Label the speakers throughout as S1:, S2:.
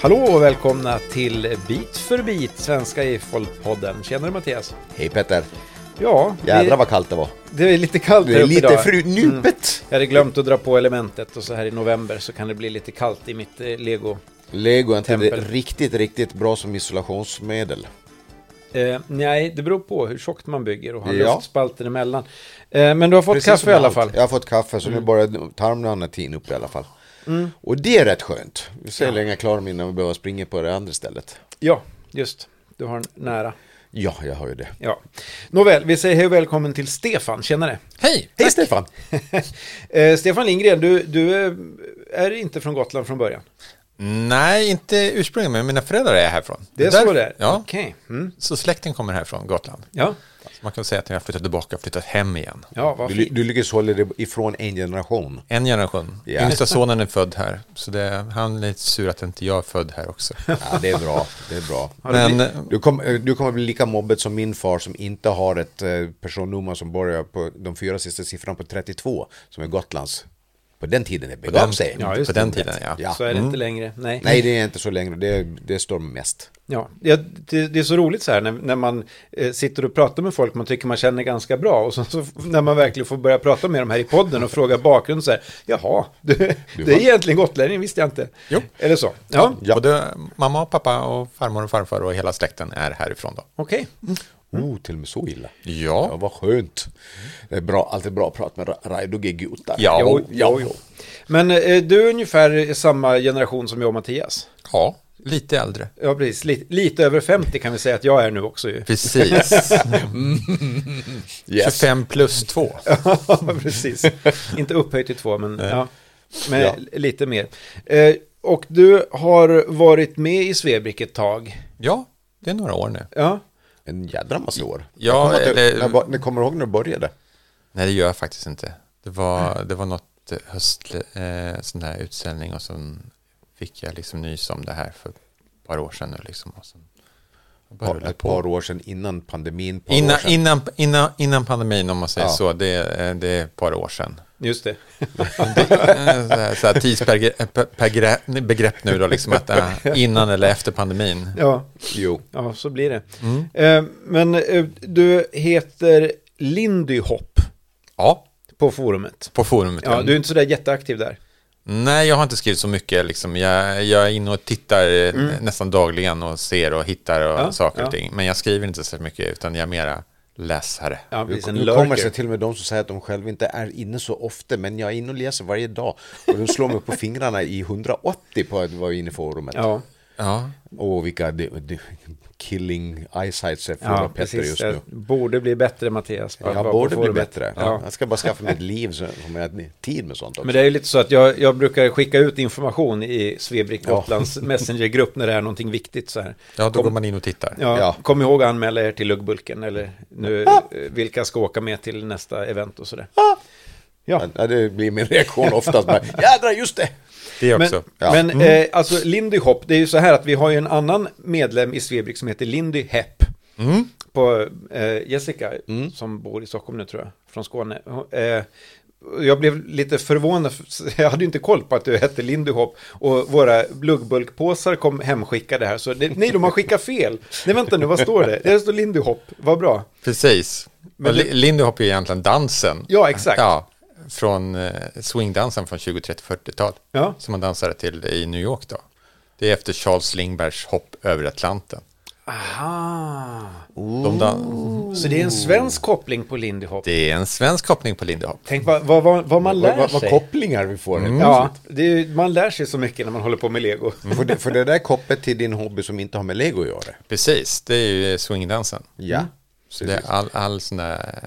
S1: Hallå och välkomna till Bit för bit, Svenska IFL-podden. Tjenare Mattias!
S2: Hej Petter!
S1: Ja,
S2: Jädrar
S1: det,
S2: vad kallt det var.
S1: det är lite kallt
S2: Det är
S1: här uppe
S2: lite
S1: idag. Mm.
S2: fru nupet.
S1: Jag hade glömt att dra på elementet och så här i november så kan det bli lite kallt i mitt eh, lego.
S2: Lego är inte
S1: Tempel.
S2: riktigt, riktigt bra som isolationsmedel.
S1: Eh, nej, det beror på hur tjockt man bygger och har
S2: Ja.
S1: luftspalter emellan. Eh, men du har fått
S2: Precis som
S1: kaffe i
S2: med
S1: alla
S2: allt.
S1: fall.
S2: Jag har fått kaffe så nu börjar tarmarna tina upp i alla fall. Och det är rätt skönt. Vi ser hur länge jag klarar mig innan vi behöver springa på det andra stället.
S1: Ja, just. Du har en nära.
S2: Ja, jag hör ju det.
S1: Ja. Nåväl, vi säger hej och välkommen till Stefan, tjenare!
S3: Hej!
S2: Hej Stefan!
S1: eh, Stefan Lindgren, du, du eh, är inte från Gotland från början.
S3: Nej, inte ursprungligen, men mina föräldrar är härifrån.
S1: Det är
S3: Där-
S1: så det är?
S3: Ja,
S1: Okej. Mm.
S3: så släkten kommer härifrån, Gotland.
S1: Ja.
S3: Så man kan säga att när jag flyttat tillbaka och flyttat hem igen.
S1: ja, vad
S2: Du,
S1: fint.
S2: ly- du lyckas hålla dig ifrån en generation.
S3: En generation.
S2: Ja.
S3: Yngsta sonen är född här, så det, han är lite sur att inte jag är född här också.
S2: Ja, det är bra. Det är bra.
S3: Men eh,
S2: Du, kom, eh, du kommer bli lika mobbad som min far som inte har ett eh, personnummer som börjar på de fyra sista siffrorna på 32 som är Gotlands. På den tiden det begav
S3: den-
S2: sig.
S1: Ja, just
S3: på
S1: det.
S3: den tiden, ja.
S2: Ja.
S1: Så är det inte längre. Nej.
S2: Nej, det är inte så längre. Det, det står mest.
S1: Ja. Ja, det, det är så roligt så här när, när man eh, sitter och pratar med folk man tycker man känner ganska bra och så, så f- när man verkligen får börja prata med dem här i podden och fråga bakgrund så här, jaha, du, det är egentligen gotlänning, visste jag inte.
S3: Jo.
S1: Eller så. Ja,
S2: Ja.
S3: både mamma och pappa och farmor och farfar och hela släkten är härifrån då.
S1: okej.
S2: Oh, till och med så illa. Ja,
S3: Mm. Ja,
S2: vad skönt. Det är bra, alltid bra att prata med Ra- Raido Gigutar.
S3: Ja.
S1: Jo,
S2: Jo, ja. Jo,
S1: Men eh, du är ungefär samma generation som jag och Mattias.
S3: ja lite äldre.
S1: Ja, precis. Lite, lite över 50 kan vi säga att jag är nu också ju.
S3: Precis.
S2: Yes.
S3: 25 plus 2.
S1: Ja, precis. Inte upphöjt till två, men, ja. men
S2: Ja.
S1: lite mer. Eh, och du har varit med i Svebrik ett tag.
S3: Ja, det är några år nu.
S1: Ja,
S2: En jädra massa år.
S3: Ja,
S2: Jag kommer, eller...
S3: eller-
S2: när, var- när kommer du ihåg när du började?
S3: Nej, det gör jag faktiskt inte. Det var, det var något eh, höst, eh, sån där utställning och så fick jag liksom nys om det här för ett par år sedan nu liksom. Och sen bara
S2: Par,
S3: rullade
S2: ett
S3: på.
S2: par år sedan innan pandemin. Par år
S3: Innan,
S2: sedan.
S3: innan, innan, innan pandemin om man säger
S2: Ja.
S3: så, det, eh, det är ett par år sedan.
S1: just det.
S3: Eh, Så här, eh, så här tidsbegrepp nu då, liksom att eh, innan eller efter pandemin.
S1: Ja,
S2: Jo.
S1: ja så blir det.
S2: Mm.
S1: Eh, men eh, du heter Lindy Hopp
S3: Ja,
S1: på forumet.
S3: på forumet.
S2: Mm.
S1: Ja, du är inte sådär jätteaktiv där.
S3: Nej, jag har inte skrivit så mycket. Liksom. Jag, jag är inne och tittar eh, nästan dagligen och ser och hittar och
S1: Mm. Ja,
S3: saker och
S1: ja.
S3: ting. Men jag skriver inte så mycket, utan jag är mera läsare.
S1: Ja,
S2: Nu
S1: precis. En
S2: nu kommer
S1: lurker.
S2: sig till och med de som säger att de själva inte är inne så ofta, men jag är inne och läser varje dag. Och de slår mig på fingrarna i 180 på att vara inne i forumet.
S1: Ja,
S3: Ja,
S2: Och vilka de, de, killing eyesights är fulla
S1: ja
S2: Petter
S1: precis.
S2: just nu.
S1: Jag Borde bli bättre, Mattias. på att vara
S2: Jag
S1: på
S2: borde bli
S1: forumet.
S2: bättre.
S1: Ja.
S2: Jag ska bara skaffa mig ett liv så- som jag har tid med sånt också.
S1: Men det är ju lite så att jag, jag brukar skicka ut information i Svebrik Gotlands Messengergrupp när det är någonting viktigt så här.
S3: ja då går man in och tittar.
S1: Ja,
S2: Ja.
S1: Kom ihåg att anmäla er till Luggbulken eller nu, eh, vilka ska åka med till nästa event och sådär. Ja,
S2: Ja, det blir min reaktion oftast. Bara, Jädrar, just det!
S3: Det
S1: men,
S3: också.
S2: Ja.
S1: men eh, alltså Lindy Hop, det är ju så här att vi har ju en annan medlem i Svebrik som heter Lindy Hepp. På eh, Jessica, som bor i Stockholm nu tror jag, från Skåne. Hon- Eh, jag blev lite förvånad, för jag hade ju inte koll på att du hette Lindy Hop. Och våra bluggbulkpåsar kom hemskickade här, så det, nej, de har skickat fel. Nej, vänta nu, vad står det? Det står Lindy Hop, vad bra.
S3: Precis.
S1: Men
S3: Men
S1: det-
S3: Lindy Hop är egentligen dansen.
S1: Ja, exakt.
S3: Ja, från eh, swingdansen från 20, 30, 40-tal.
S1: Ja.
S3: Som man dansade till i New York då. Det är efter Charles Lindbergs hopp över Atlanten.
S1: Aha.
S3: De dan-
S1: Så det är en svensk koppling på Lindy Hop.
S3: det är en svensk koppling på Lindy Hop.
S1: Tänk vad, vad, vad, vad man lär
S2: Vad, vad, vad
S1: sig. Mm.
S2: kopplingar vi får. helt
S1: Ja,
S2: plötsligt.
S3: Mm.
S1: det är, ju- man lär sig så mycket när man håller på med lego.
S2: För, det, för det där är kopplat till din hobby som inte har med lego att
S1: Mm.
S2: göra.
S3: Precis, det är ju swingdansen.
S2: Ja.
S3: Så det är all, all sån där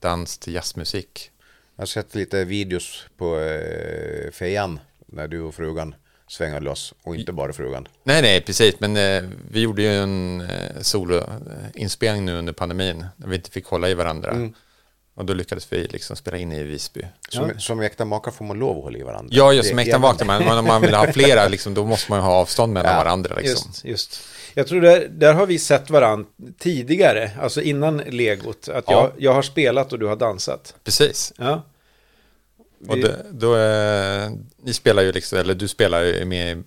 S3: dans till jazzmusik.
S2: Jag har sett lite videos på eh, fejan när du och frugan svänger loss och inte bara frugan.
S3: Nej, nej, precis. Men eh, vi gjorde ju en eh, soloinspelning nu under pandemin. När vi inte fick hålla i varandra.
S2: Mm.
S3: Och då lyckades vi liksom spela in i Visby.
S2: Som, som äkta makar får man lov att hålla i varandra.
S3: Ja, just
S2: Det är
S3: som äkta vakter. Men om man vill ha flera, liksom, då måste man ju ha avstånd mellan varandra. Liksom.
S1: Just, just. Jag tror där, där har vi sett varandra tidigare, alltså innan legot. Att
S3: Ja.
S1: jag, jag har spelat och du har dansat.
S3: Precis.
S1: Ja.
S3: Och
S1: Vi-
S3: det, då, eh, ni spelar ju liksom, eller du spelar ju med i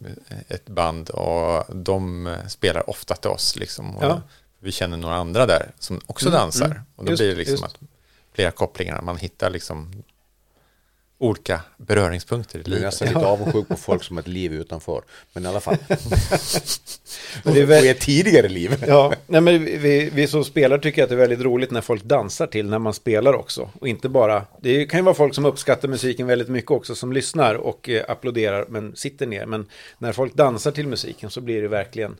S3: ett band och de eh, spelar ofta till oss liksom. Och
S1: Ja. Mm,
S3: Vi känner några andra där som också dansar. Och då
S1: Just-
S3: blir det liksom
S1: just.
S3: att flera kopplingar, man hittar liksom olika beröringspunkter i
S2: Jag är
S3: livet.
S2: nästan lite avundsjuk på folk som har ett liv utanför. Men i alla fall.
S1: Men det är väl-
S2: Och ett tidigare liv.
S1: Ja, nej men vi, vi som spelar tycker att det är väldigt roligt när folk dansar till när man spelar också. Och inte bara, det kan ju vara folk som uppskattar musiken väldigt mycket också, som lyssnar och eh, applåderar men sitter ner. Men när folk dansar till musiken så blir det verkligen,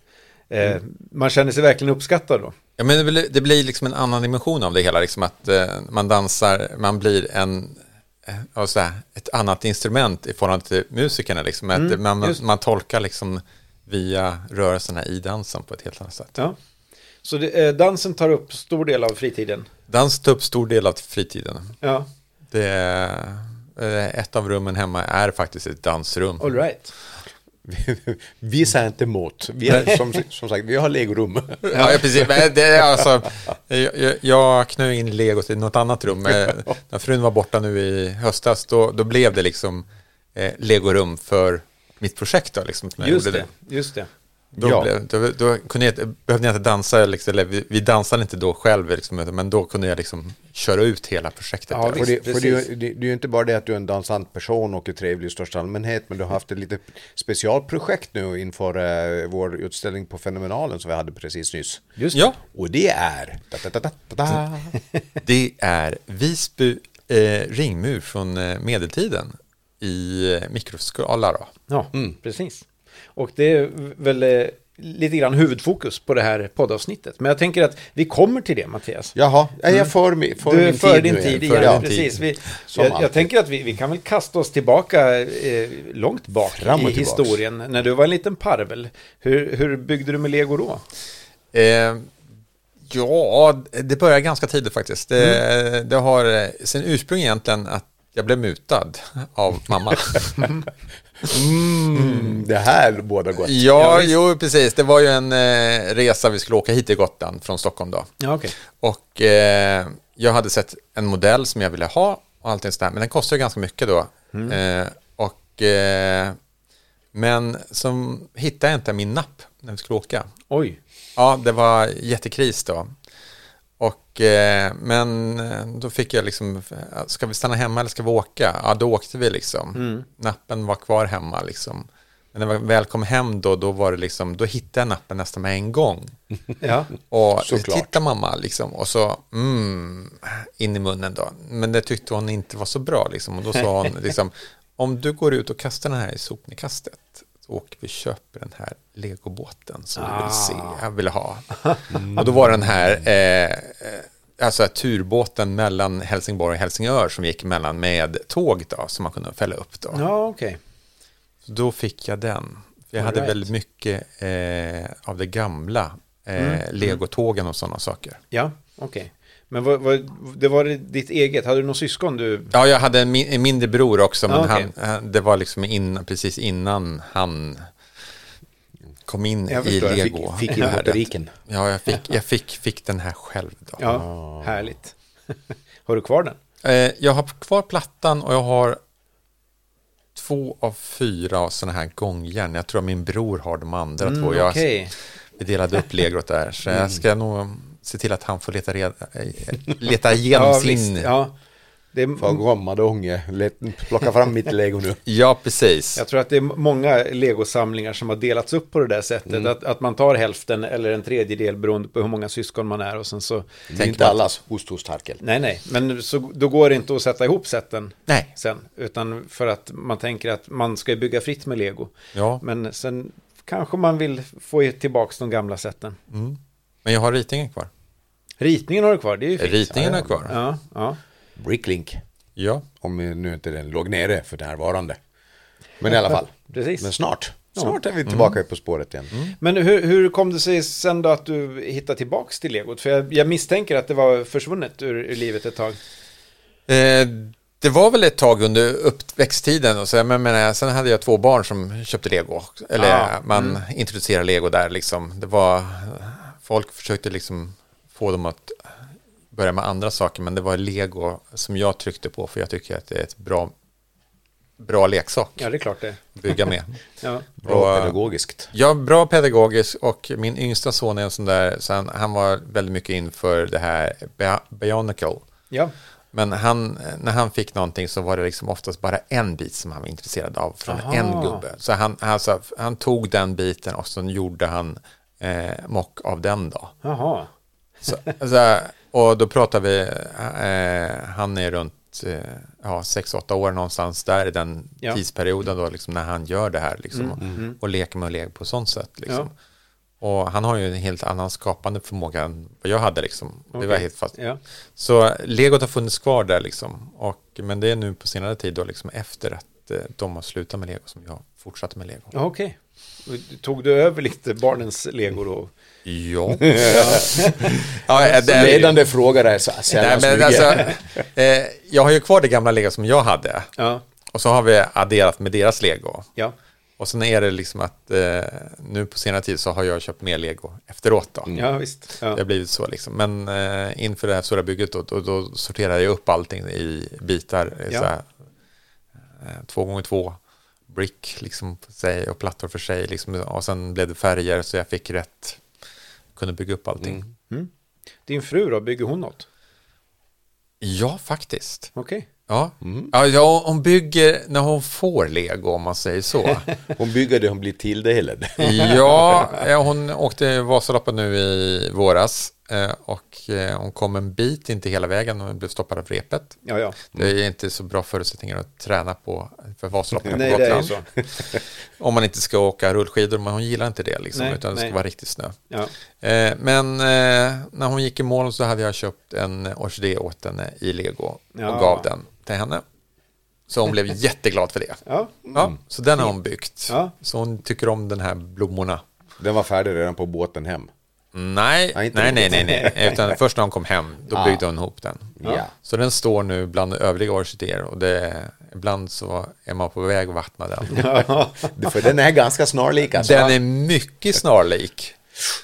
S1: eh,
S3: Mm.
S1: man känner sig verkligen uppskattad då.
S3: Ja, men det blir, det blir liksom en annan dimension av det hela, liksom att eh, man dansar, man blir en, eh, ja, så här, ett annat instrument i förhållande till musikerna, liksom, att man, man,
S1: Mm, just.
S3: man tolkar liksom via rörelserna i dansen på ett helt annat sätt.
S1: Ja. Så det, eh, dansen tar upp stor del av fritiden.
S3: Dans tar upp stor del av fritiden.
S1: Ja,
S3: Det, är- eh, ett av rummen hemma är faktiskt ett dansrum.
S1: all right.
S2: Vi säger inte emot. Vi är, som, som sagt, vi har legorum.
S3: Ja, ja, precis. Men det är alltså, jag, jag- jag knöt in legot i något annat rum. Eh, När frun var borta nu i höstas, då, då blev det liksom eh, legorum för mitt projekt. Då, liksom, när jag
S1: Just
S3: gjorde
S1: det, just det.
S3: Då,
S2: Ja.
S3: blev, då, då kunde jag, inte- behövde jag inte dansa, liksom, eller vi, vi dansade inte då själv, liksom, utan- men då kunde jag liksom köra ut hela projektet.
S1: Ja,
S3: där.
S2: För det,
S1: Visst,
S2: för det, är ju-
S1: precis.
S2: det, det är ju inte bara det att du är en dansant person och är trevlig i största allmänhet, men du har haft ett litet specialprojekt nu inför eh, vår utställning på Fenomenalen som vi hade precis nyss.
S1: Just
S3: ja,
S2: Och det är... Ta, ta, ta, ta, ta, ta.
S3: det är Visby eh, ringmur från eh, medeltiden i eh, mikroskala. Då.
S1: Ja,
S2: Mm.
S1: precis. Och det är väl eh, lite grann huvudfokus på det här poddavsnittet. Men jag tänker att vi kommer till det, Mattias.
S2: Jaha, är jag för, mi- för
S1: Mm. du är
S2: min
S1: för
S2: tid
S1: din
S2: nu igen?
S1: tid
S2: För-
S1: igen,
S2: ja.
S1: precis. Vi,
S2: Som
S1: jag, jag
S2: alltid.
S1: tänker att vi, vi kan väl kasta oss tillbaka eh, långt bak
S2: Fram och
S1: i
S2: tillbaks.
S1: historien. När du var en liten parvel, hur, hur byggde du med lego då?
S3: Eh, ja, det börjar ganska tidigt faktiskt. Det, det har eh, sin ursprung egentligen att jag blev mutad av mamma.
S2: Mm, det här båda gott.
S3: ja, jo, precis. Det var ju en eh, resa vi skulle åka hit till Gotland från Stockholm då.
S1: Ja, okej.
S3: Och eh, jag hade sett en modell som jag ville ha och allting sådär. Men den kostade ju ganska mycket då. Eh, och, eh, men som hittade jag inte min napp när vi skulle åka.
S1: Oj.
S3: Ja, det var jättekris då. Och, eh, men eh, då fick jag liksom, eh, ska vi stanna hemma eller ska vi åka? Ja, då åkte vi liksom. Nappen var kvar hemma liksom. Men när jag väl kom hem då, då var det liksom, då hittade jag nappen nästan med en gång.
S1: Ja.
S3: Och
S2: Såklart.
S3: titta mamma liksom, och så, mm, in i munnen då. Men det tyckte hon inte var så bra liksom. Och då sa hon liksom, om du går ut och kastar den här i sopnedkastet, så åker vi och köper den här legobåten som du vill se, jag vill ha. Och då var den här, eh, eh, alltså turbåten mellan Helsingborg och Helsingör som gick mellan med tåg då, som man kunde fälla upp då.
S1: Ja, okej.
S3: Så då fick jag den. Jag
S1: All
S3: hade
S1: right.
S3: väldigt mycket eh, av det gamla, eh,
S1: Mm.
S3: legotågen och sådana saker.
S1: Ja, okej. Men vad, vad, det var ditt eget, hade du någon syskon du?
S3: Ja, jag hade en, min, en mindre bror också, men
S1: Ja, Ah, okej.
S3: han, han, det var liksom innan, precis innan han kom in
S1: Jag
S3: i
S1: förstår. Jag
S2: fick-
S3: lego
S2: fick in
S3: världen.
S2: motoriken.
S3: Ja, jag fick, jag fick, fick den här själv då.
S1: Ja,
S3: Ah.
S1: härligt. Har du kvar den?
S3: Eh, jag har kvar plattan och jag har två av fyra sådana här gångjärn. Jag tror att min bror har de andra två. Jag,
S1: Mm, okej.
S3: Vi delade upp legot där, så
S1: Mm.
S3: jag ska nog se till att han får leta, reda, eh, leta igenom sin...
S1: visst.
S3: Ja.
S1: Ja. Det är,
S2: För Romadonge, Let- plocka fram mitt lego nu.
S3: precis.
S1: Jag tror att det är många legosamlingar som har delats upp på det där sättet.
S3: Mm.
S1: Att, att man tar hälften eller en tredjedel beroende på hur många syskon man är och sen så...
S2: Det är inte allas host host harkel.
S1: Nej, nej, men så, då går det inte att sätta ihop sätten
S3: Nej.
S1: sen. Utan för att man tänker att man ska ju bygga fritt med lego.
S3: Ja.
S1: Men sen kanske man vill få tillbaka de gamla sätten.
S3: Men jag har ritningen kvar.
S1: Ritningen har du kvar, det är ju fint.
S3: Ritningen är kvar.
S1: Ja, ja.
S2: Bricklink.
S3: Ja.
S2: Om nu inte den låg nere för närvarande. Men i alla fall.
S1: Precis.
S2: Men snart. Snart är vi tillbaka
S3: Mm.
S2: på spåret igen.
S1: Men hur, hur kom det sig sen då att du hittade tillbaka till legot? För jag, jag misstänker att det var försvunnet ur, ur livet ett tag.
S3: Eh, det var väl ett tag under uppväxttiden och så, men, men eh, sen hade jag två barn som köpte lego. också. Eller
S1: Ah,
S3: eh, man introducerade lego där liksom. Det var, folk försökte liksom få dem att börja med andra saker, men det var lego som jag tryckte på, för jag tycker att det är ett bra bra leksak
S1: Ja, det är klart det.
S3: bygga med.
S1: Ja.
S2: Bra
S3: Och, eh,
S2: pedagogiskt.
S3: Ja, bra pedagogisk och min yngsta son är en sån där, så han, han var väldigt mycket inför det här Bia- Bionicle.
S1: ja.
S3: Men han, när han fick någonting så var det liksom oftast bara en bit som han var intresserad av från
S1: Aha.
S3: en gubbe. Så han, alltså, han tog den biten och sen gjorde han eh, mock av den då.
S1: Jaha.
S3: Så, alltså, och då pratar vi, eh, han är runt eh, ja, 6-8 år någonstans där i den
S1: Ja. Mm,
S3: tidsperioden då, liksom, när han gör det här liksom, och, och leker med och leker på sånt sätt. Liksom. Och han har ju en helt annan skapande förmåga än vad jag hade. Liksom. Det var
S1: Okej.
S3: helt fast.
S1: Ja.
S3: Så legot har funnits kvar där, liksom. och, men det är nu på senare tid, då, liksom, efter att eh, de har slutat med lego, som jag fortsatte med lego.
S1: Ja, okej. Tog du över lite barnens lego då?
S3: Ja. ja. ja det är ju-
S2: Ledande fråga där, så sällan
S3: Nej, men
S2: smyger.
S3: alltså, eh, jag har ju kvar det gamla lego som jag hade.
S1: Ja.
S3: Och så har vi adderat med deras lego.
S1: Ja.
S3: Och sen är det liksom att eh, nu på senare tid så har jag köpt mer lego efteråt. Då.
S1: Ja, visst.
S3: Det
S1: Ja.
S3: har blivit så liksom. Men eh, inför det här stora bygget då, då, då sorterade jag upp allting i bitar. eh,
S1: Ja.
S3: Så här, eh, två gånger två brick liksom för sig och plattor för sig. Liksom, och sen blev det färger så jag fick rätt, kunde bygga upp allting.
S1: Mm. Din fru då, bygger hon något?
S3: Ja, faktiskt.
S1: Okej.
S3: Ja.
S1: Mm.
S3: Ja, ja, hon bygger när hon får lego om man säger så.
S2: Hon bygger det, hon blir tilldelad.
S3: ja, eh, hon åkte Vasaloppet nu i våras eh, och eh, hon kom en bit, inte hela vägen, hon blev stoppad av repet.
S1: Ja, ja.
S3: Det är inte så bra förutsättningar att träna på för Vasaloppet på
S1: Nej, det är ju
S3: Gotland.
S1: så.
S3: Om man inte ska åka rullskidor, men hon gillar inte det liksom,
S1: Nej,
S3: utan det
S1: nej.
S3: ska vara riktigt snö.
S1: Ja.
S3: Eh, Men eh, när hon gick i mål så hade jag köpt en orkidé åt henne i lego
S1: Ja.
S3: och gav den till henne. Så hon blev jätteglad för det.
S1: Ja.
S3: Ja, så den har hon byggt.
S1: Ja.
S3: Så hon tycker om den här blommorna.
S2: Den var färdig redan på båten hem.
S3: Nej,
S2: Ja,
S3: nej,
S2: inte
S3: nej, nej,
S2: riktigt.
S3: nej. Utan först när hon kom hem, då
S2: Ah.
S3: byggde hon ihop den.
S2: Ja.
S3: Så den står nu bland övriga orkidéer och det, ibland så är man på väg att vattna den.
S2: För den är ganska snarlik alltså.
S3: Den är mycket snarlik.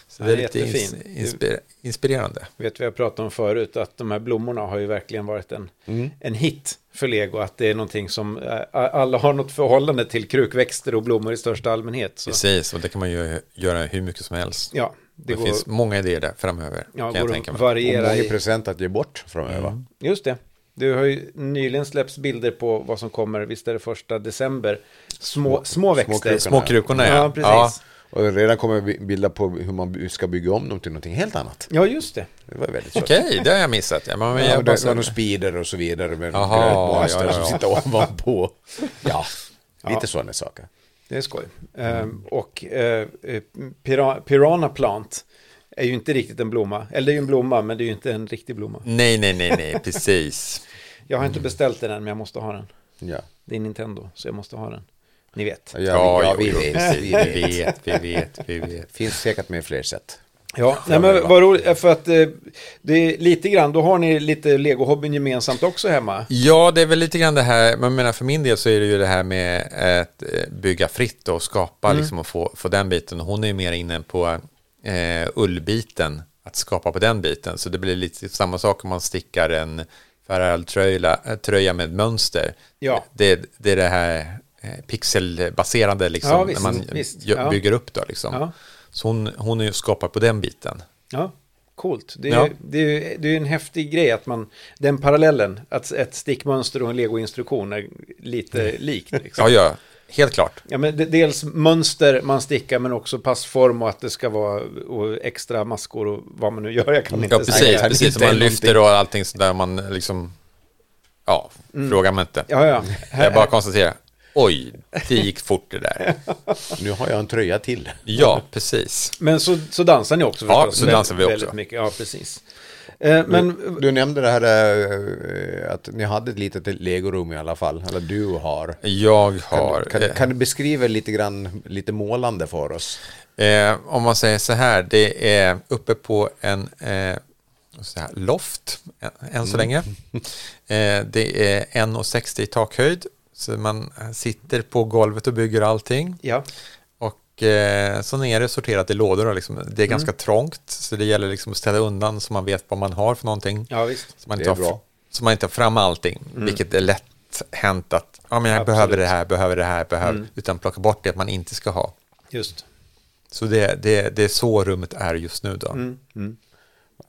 S3: Så det är
S1: Ja,
S3: lite ins
S1: jättefin.
S3: inspir inspirerande.
S1: vet vi har pratat om förut, att de här blommorna har ju verkligen varit en,
S3: Mm.
S1: en hit för lego. Att det är någonting som eh, alla har något förhållande till krukväxter och blommor i största allmänhet. Så.
S3: Precis, och det kan man ju göra hur mycket som helst.
S1: Ja, det,
S3: Det,
S1: går,
S3: finns många idéer där framöver,
S1: ja,
S3: kan jag
S1: går
S3: tänka
S1: att
S3: mig.
S2: Och
S1: variera
S2: många
S1: i.
S2: present att ge bort framöver.
S3: Mm.
S1: Just det. Du har ju nyligen släppts bilder på vad som kommer, visst är det första december. Små, små växter.
S2: krukorna.
S3: Små krukorna, ja.
S1: Ja, precis.
S2: Och redan kommer vi bilda på hur man ska bygga om dem till någonting helt annat.
S1: Ja, just det.
S2: Det var väldigt sött.
S3: Okej, det har jag missat. Ja, men
S2: Ja,
S3: jag
S2: och det
S3: bara-
S2: var någon speeder och så vidare med
S3: Jaha,
S2: Aha,
S3: ja, ja,
S2: som
S3: ja.
S2: sitter ovanpå. Ja, lite sådana saker.
S1: Det är skoj. Ehm, och eh, eh, pira, Pirana plant är ju inte riktigt en blomma. Eller det är ju en blomma, men det är ju inte en riktig blomma.
S3: Nej, nej, nej, nej, precis.
S1: Jag har inte beställt den än, men jag måste ha den.
S2: Ja,
S1: Det är Nintendo, så jag måste ha den. Ni vet.
S2: ja,
S3: Ja,
S2: ja
S3: jo,
S2: vi
S3: jo,
S2: vet.
S3: precis.
S2: Vi
S3: Vi
S2: vet.
S3: vet, vi vet, vi vet.
S2: finns säkert med fler sätt.
S1: Ja, nej, men vad roligt, för att eh, det är lite grann, då har ni lite Lego-hobbyn gemensamt också hemma.
S3: Ja, det är väl lite grann det här, men jag menar för min del så är det ju det här med att eh, bygga fritt och skapa
S1: Mm.
S3: liksom och få, få den biten. Hon är ju mer inne på eh, ullbiten, att skapa på den biten. Så det blir lite samma sak om man stickar en Farrell-tröja eh, tröja med mönster.
S1: Ja.
S3: Det, det är det här eh, pixelbaserade liksom,
S1: Ja, visst,
S3: när man
S1: visst.
S3: gö-
S1: Ja.
S3: bygger upp då liksom.
S1: Ja.
S3: Så hon, hon är ju skapad på den biten.
S1: Ja, coolt. Det är,
S3: Ja.
S1: det är, det är en häftig grej att man, den parallellen, att ett stickmönster och en Lego-instruktion är lite likt. Liksom.
S3: Ja, ja, helt klart.
S1: Ja, men de- dels mönster man stickar men också passform och att det ska vara och extra maskor och vad man nu gör. Jag kan inte
S3: Ja, precis.
S1: säga.
S3: precis.
S2: inte
S3: Man
S2: någonting. Mm.
S3: lyfter och allting sådär. Man liksom... Ja, frågar man inte.
S1: Ja, ja.
S3: Jag bara konstaterar. Oj, det gick fort det där.
S2: Nu har jag en tröja till.
S3: Ja, precis.
S1: Men så, så dansar ni också
S3: Ja,
S1: förstås.
S3: så dansar vi
S1: Väldigt-
S3: också.
S1: Väldigt mycket. Ja, precis. Eh, Men
S2: Du nämnde det här eh, att ni hade ett litet legorum i alla fall, eller du har.
S3: Jag har...
S2: Kan, kan, kan du beskriva lite grann, lite målande för oss?
S3: Eh, om man säger så här, det är uppe på en eh, så här, loft ä- än
S2: Mm.
S3: så länge. Eh, det är 1,60 i takhöjd. Så man sitter på golvet och bygger allting.
S1: ja,
S3: Och eh, sen är det sorterat i lådor. och Liksom. Det är ganska trångt, så det gäller liksom att ställa undan så man vet vad man har för någonting.
S1: ja visst.
S3: så, man
S2: det
S3: inte
S2: är
S3: har,
S2: bra.
S3: så man inte har fram allting, vilket är lätt lätt hänt att ja, men
S1: Mm.
S3: jag
S1: Absolut. Mm.
S3: behöver det här, behöver det här, behöver, utan plocka bort det man inte ska ha.
S1: Just.
S3: Så det, det, det är så rummet är just nu då.
S1: Mm.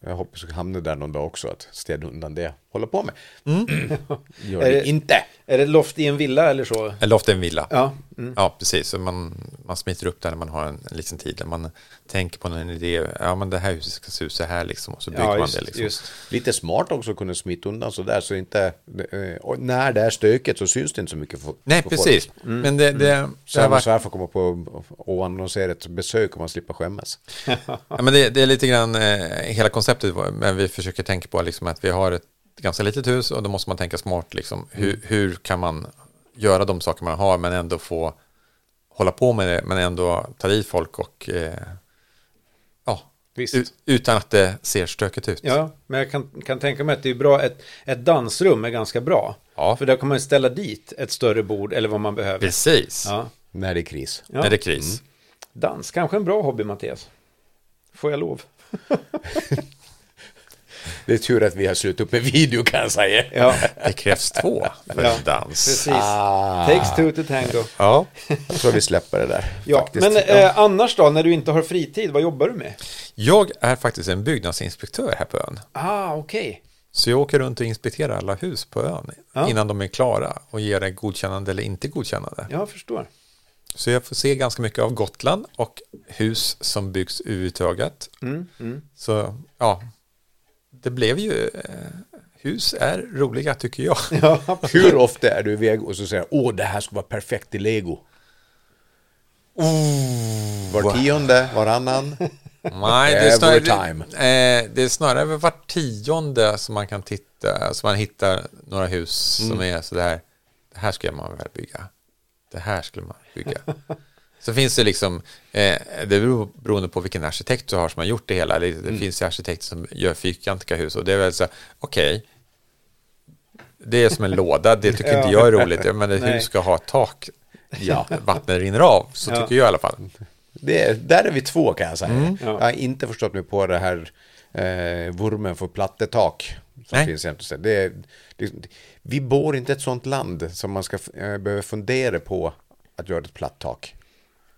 S2: Jag hoppas jag hamnar där någon dag också, att städa undan det jag håller på med. Gör
S1: Är
S2: det
S1: det-
S2: inte.
S1: Är det loft i en villa eller så?
S3: Eller ofta en villa.
S1: Ja. Mm.
S3: Ja, precis. Så man, man smiter upp där när man har en, en liten tid. Där man tänker på en idé. Ja, men det här huset ska se ut så här liksom. Och så bygger
S1: Ja,
S3: man
S1: just,
S3: det liksom.
S1: just.
S2: Lite smart också att kunna smita undan sådär, så inte... eh, Och när det är stökigt så syns det inte så mycket för,
S3: Nej,
S2: för
S3: precis.
S2: folk.
S1: Mm.
S3: Men det, det, det,
S2: Så
S3: har
S2: här
S3: varit,
S2: så här får komma på och annonsera ett besök om man slipper skämmas.
S3: ja, men det, det är lite grann eh, hela konceptet. var- Men vi försöker tänka på liksom att vi har ett ganska litet hus och då måste man tänka smart. Liksom. Hur,
S1: Mm.
S3: hur kan man göra de saker man har men ändå få hålla på med det men ändå ta i folk och eh, ja,
S1: Visst.
S3: ut- utan att det ser stökigt ut.
S1: Ja, men jag kan, kan tänka mig att det är bra, ett, ett dansrum är ganska bra.
S3: Ja.
S1: För där kan man ställa dit ett större bord eller vad man behöver.
S3: Precis.
S1: Ja.
S2: När det är kris.
S1: Ja. Mm.
S3: När det är kris.
S1: Dans, kanske en bra hobby Mattias. Får jag lov?
S2: Det är tur att vi har slutat upp med video kan jag säga.
S1: Ja,
S3: Det krävs två för
S1: Ja.
S3: en dans.
S1: precis.
S2: Ah.
S1: Takes two to tango.
S3: Ja.
S2: Jag tror vi släpper det där.
S1: Ja,
S2: faktiskt.
S1: men eh, annars då, när du inte har fritid, vad jobbar du med?
S3: Jag är faktiskt en byggnadsinspektör här på ön.
S1: Ah, okej.
S3: Så jag åker runt och inspekterar alla hus på ön innan de är klara och ger det godkännande eller inte godkännande.
S1: Ja, Jag förstår.
S3: Så jag får se ganska mycket av Gotland och hus som byggs överhuvudtaget. Så ja, det blev ju... Eh, hus är roliga tycker jag.
S1: Ja,
S2: Hur ofta är du iväg och så säger åh det här ska vara perfekt i lego? Var tionde, varannan.
S3: Nej, det är
S2: Every
S3: snarare,
S2: time.
S3: Eh, det är snarare över var tionde som man kan titta, som man hittar några hus som
S2: Mm.
S3: är sådär, det här skulle man väl bygga, det här skulle man bygga. Så finns det liksom, eh, det beror beroende på vilken arkitekt du har som har gjort det hela, eller det
S2: Mm.
S3: finns ju arkitekter som gör fyrkantiga hus och det är väl så, här, okej, det är som en låda, det tycker inte jag är roligt, men ett
S1: Nej.
S3: hus ska ha ett tak,
S2: Ja.
S3: vattnet rinner av, så
S1: Ja.
S3: tycker jag i alla fall.
S2: Det är, där är vi två kan jag säga.
S1: Ja.
S2: Jag har inte förstått mig på det här eh, vurmen för plattetak. Som
S3: Nej.
S2: finns jämt och ständigt. det är, det, vi bor inte i ett sånt land som man ska f- eh, behöva fundera på att göra ett platt tak.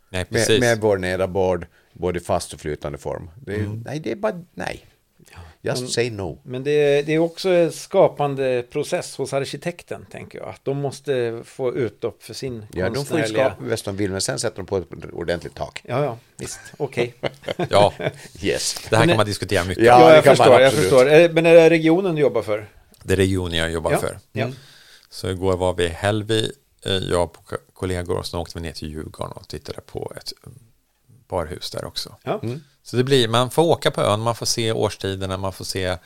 S3: Nej, precis.
S2: Med, med vår nederbord, både i fast och flytande form. Det är,
S1: Mm.
S2: Nej, det är bara nej. Just say no.
S1: Men det, det är också en skapande process hos arkitekten, tänker jag. Att de måste få utlopp för sin
S2: Ja, de får ju
S1: konstnärliga...
S2: skapa bäst de vill, men sen sätter de på ett ordentligt tak.
S1: Ja, ja, visst, okej.
S3: Ja,
S2: Yes.
S3: det här kan man diskutera mycket.
S2: Ja,
S1: Ja,
S2: det
S1: jag
S2: kan man
S1: förstår, jag
S2: absolut.
S1: förstår. Är- Men är det regionen du jobbar för?
S3: Det är regionen jag jobbar
S1: Ja,
S3: för.
S1: ja.
S3: Så igår var vi i Hällby, eh, jag och ko- kollegor, och sen åkte vi ner till Djurgården och tittade på ett mm, barhus där också.
S1: Ja.
S2: Mm.
S3: Så det blir, man får åka på ön, man får se årstiderna, man får se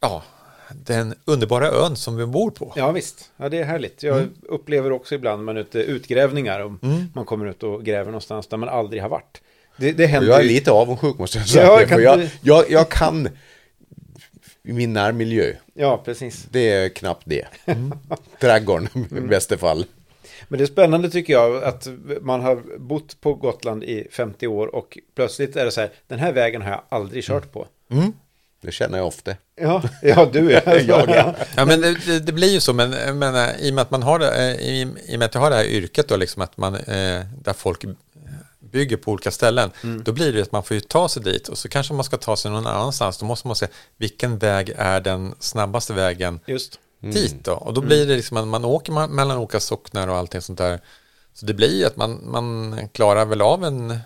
S3: ja, den underbara ön som vi bor på.
S1: ja, visst. Ja, det är härligt. Jag
S2: Mm.
S1: upplever också ibland man är ute utgrävningar och man kommer ut och gräver någonstans där man aldrig har varit. Det, det
S2: Och
S1: händer
S2: Jag är
S1: ju-
S2: lite avundsjuk måste jag säga.
S1: Ja,
S2: för
S1: kan
S2: jag,
S1: du-
S2: jag, jag kan min närmiljö.
S1: Ja, precis.
S2: Det är knappt det.
S1: Mm.
S2: Trädgården i bästa fall.
S1: Men det är spännande tycker jag att man har bott på Gotland i 50 år och plötsligt är det så här, den här vägen har jag aldrig kört på.
S2: Mm. Det känner jag ofta.
S1: Ja, ja du är
S2: Jag är.
S3: Ja, men det, det, det blir ju så, men, eh, men eh, i och med att man har det, eh, i, i och med att jag har det här yrket då, liksom att man, eh, där folk eh, bygger på olika ställen, då blir det att man får ju ta sig dit och så kanske man ska ta sig någon annanstans, då måste man se vilken väg är den snabbaste vägen
S1: Just.
S3: dit då? Och då blir det liksom att man åker ma- mellan olika socknar och allting sånt där. Så det blir ju att man, man klarar väl av en,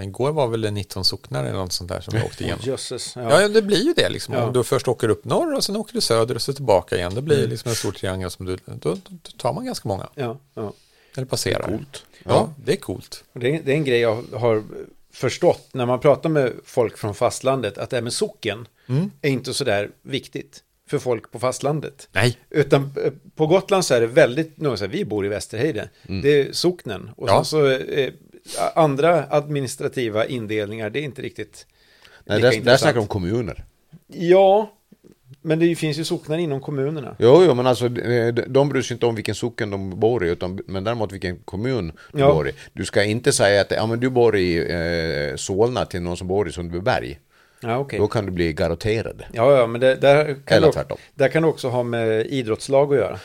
S3: igår var väl det 19 socknar eller något sånt där som vi åkte igenom.
S1: Jösses.
S3: Ja, ja, det blir ju det liksom. Om du först åker upp norr och sen åker du söder och så tillbaka igen. Det blir ju liksom en stor triangel som du, då, då tar man ganska många.
S1: Ja, ja.
S3: Eller passerar.
S2: Coolt.
S3: Ja, det är coolt.
S1: Och Det, är, det är en grej jag har förstått när man pratar med folk från fastlandet, att det här med socken
S2: Mm.
S1: är inte så där viktigt för folk på fastlandet.
S3: Nej,
S1: Utan eh, på Gotland så är det väldigt, nu, så här, vi bor i Västerhejden,
S2: Mm.
S1: det är socknen. Och
S3: Ja.
S1: sen så eh, andra administrativa indelningar, det är inte riktigt
S2: Nej,
S1: lika
S2: där, där
S1: intressant.
S2: snackar de om kommuner.
S1: Ja, men det finns ju socknar inom kommunerna.
S2: Jo, jo, men alltså de- de bryr sig inte om vilken socken de bor i, utan, men däremot vilken kommun du
S1: Ja.
S2: bor i. Du ska inte säga att ja, men du bor i eh, Solna till någon som bor i Sundbyberg.
S1: Ja, okej.
S2: Då kan du bli garanterad.
S1: Ja, ja, men det, där, kan
S2: Eller
S1: det,
S2: tvärtom.
S1: där kan det också ha med idrottslag att göra.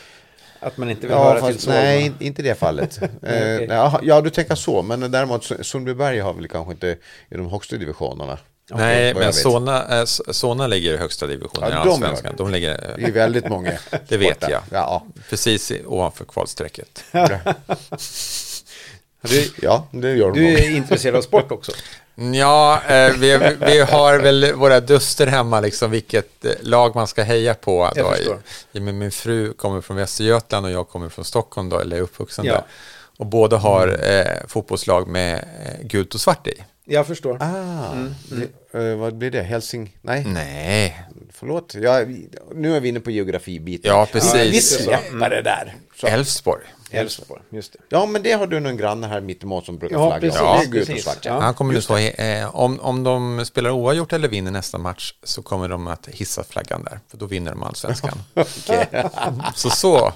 S1: Att man inte vill
S2: Ja,
S1: höra till
S2: fast,
S1: Solna.
S2: nej, in- inte i det fallet. eh,
S1: okej.
S2: ja, ja, du tänker så, men däremot Su- Sundbyberg har väl kanske inte i de högsta divisionerna.
S3: Nej,
S2: vad jag
S3: men
S2: vet.
S3: Solna, eh, Solna ligger i högsta divisionen
S2: Ja,
S3: i
S2: de
S3: Allsvenskan.
S2: gör
S3: De ligger,
S2: Det
S3: eh,
S2: är väldigt många.
S3: det vet
S2: borta.
S3: jag,
S2: Ja,
S3: precis i- ovanför kvalstrecket.
S1: Du,
S2: ja det gör de.
S1: du
S2: nog.
S1: är intresserad av sport också.
S3: Ja, eh, vi, vi har väl våra duster hemma, liksom vilket eh, lag man ska heja på.
S1: Jag
S3: Då.
S1: förstår.
S3: I- men Min fru kommer från Västergötland och jag kommer från Stockholm, då, eller är uppvuxen
S1: Ja.
S3: där. Och båda har eh, fotbollslag med eh, gult och svart i.
S1: Jag förstår.
S2: Ah, det-
S3: Mm.
S2: eh, vad blir det? Helsing? Nej,
S3: Nej,
S2: förlåt. Ja, vi- nu är vi inne på geografibiten.
S3: ja precis.
S1: visst.
S2: Vi släpper det där. Så.
S3: Elfsborg.
S1: Elfsborg, just det.
S2: Ja, men det har du någon granne här mittemot som brukar
S1: Ja,
S2: flagga.
S1: precis,
S2: Ja, det är gult och
S1: precis.
S2: svart.
S1: Ja.
S2: Ja.
S3: Han kommer nu stå, eh, om, om de spelar oavgjort eller vinner nästa match så kommer de att hissa flaggan där, för då vinner de allsvenskan. så så.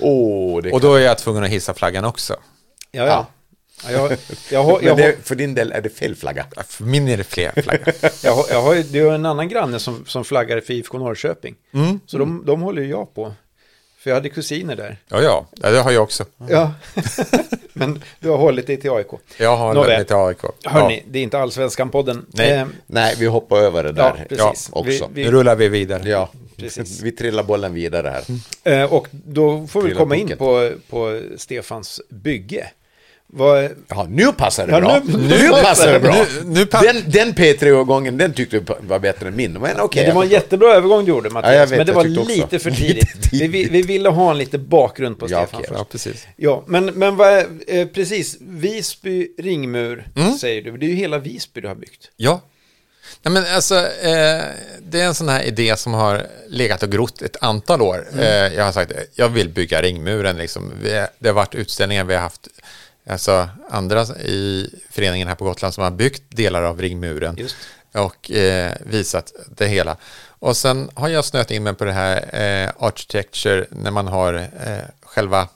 S2: Åh, det
S3: Och då är jag tvungen att hissa flaggan också.
S1: Ja, ja. ja. Jag, jag, har- jag,
S2: men
S1: har-
S2: det, för din del är det fel flagga.
S3: För min är det fler flaggor.
S1: jag, har- jag har ju det är ju en annan granne som, som flaggar för IFK Norrköping.
S3: Mm.
S1: Så de, de håller ju jag på. För jag hade kusiner där.
S3: Ja, ja, Ja, det har jag också.
S1: Ja, men du har hållit dig till AIK.
S3: Jag har
S1: Nåväl.
S3: Nåväl. lite AIK.
S1: Hörni, det är inte Ehm, Allsvenskan-podden.
S3: Nej.
S2: Nej, vi hoppar över det
S1: ja,
S2: där
S1: precis.
S2: ja, också.
S1: Vi-
S3: Nu rullar vi vidare.
S2: Ja,
S1: Precis.
S2: vi trillar bollen vidare här.
S1: Eh, och då får vi
S2: Trilla
S1: komma in
S2: pucken.
S1: på, på Stefans bygge. Vad,
S2: Ja, nu passar det
S1: Ja,
S2: bra.
S1: nu-
S2: Nu,
S1: nu
S2: passar det bra.
S3: nu- nu pa-
S2: den den P3-årgången, den tyckte du var bättre än min. Men okej.
S1: det var en jättebra övergång du gjorde, Mattias,
S2: Ja, jag vet,
S1: men det
S2: jag
S1: var
S2: tyckte också.
S1: lite för
S2: Lite
S1: tidigt. Vi, vi, vi ville ha en lite bakgrund på
S2: Ja,
S1: Stefan
S2: okej,
S1: först.
S3: Ja, precis.
S1: Ja, men, men vad, eh, precis, Visby ringmur säger du, det är ju hela Visby du har byggt.
S3: Ja. Nej, men alltså, eh, det är en sån här idé som har legat och grott ett antal år. Eh, jag har sagt eh, jag vill bygga ringmuren. Liksom. Vi, det har varit utställningar vi har haft. Alltså andra i föreningen här på Gotland som har byggt delar av ringmuren
S1: Just.
S3: och eh, visat det hela. Och sen har jag snöat in mig på det här eh, architecture när man har eh, själva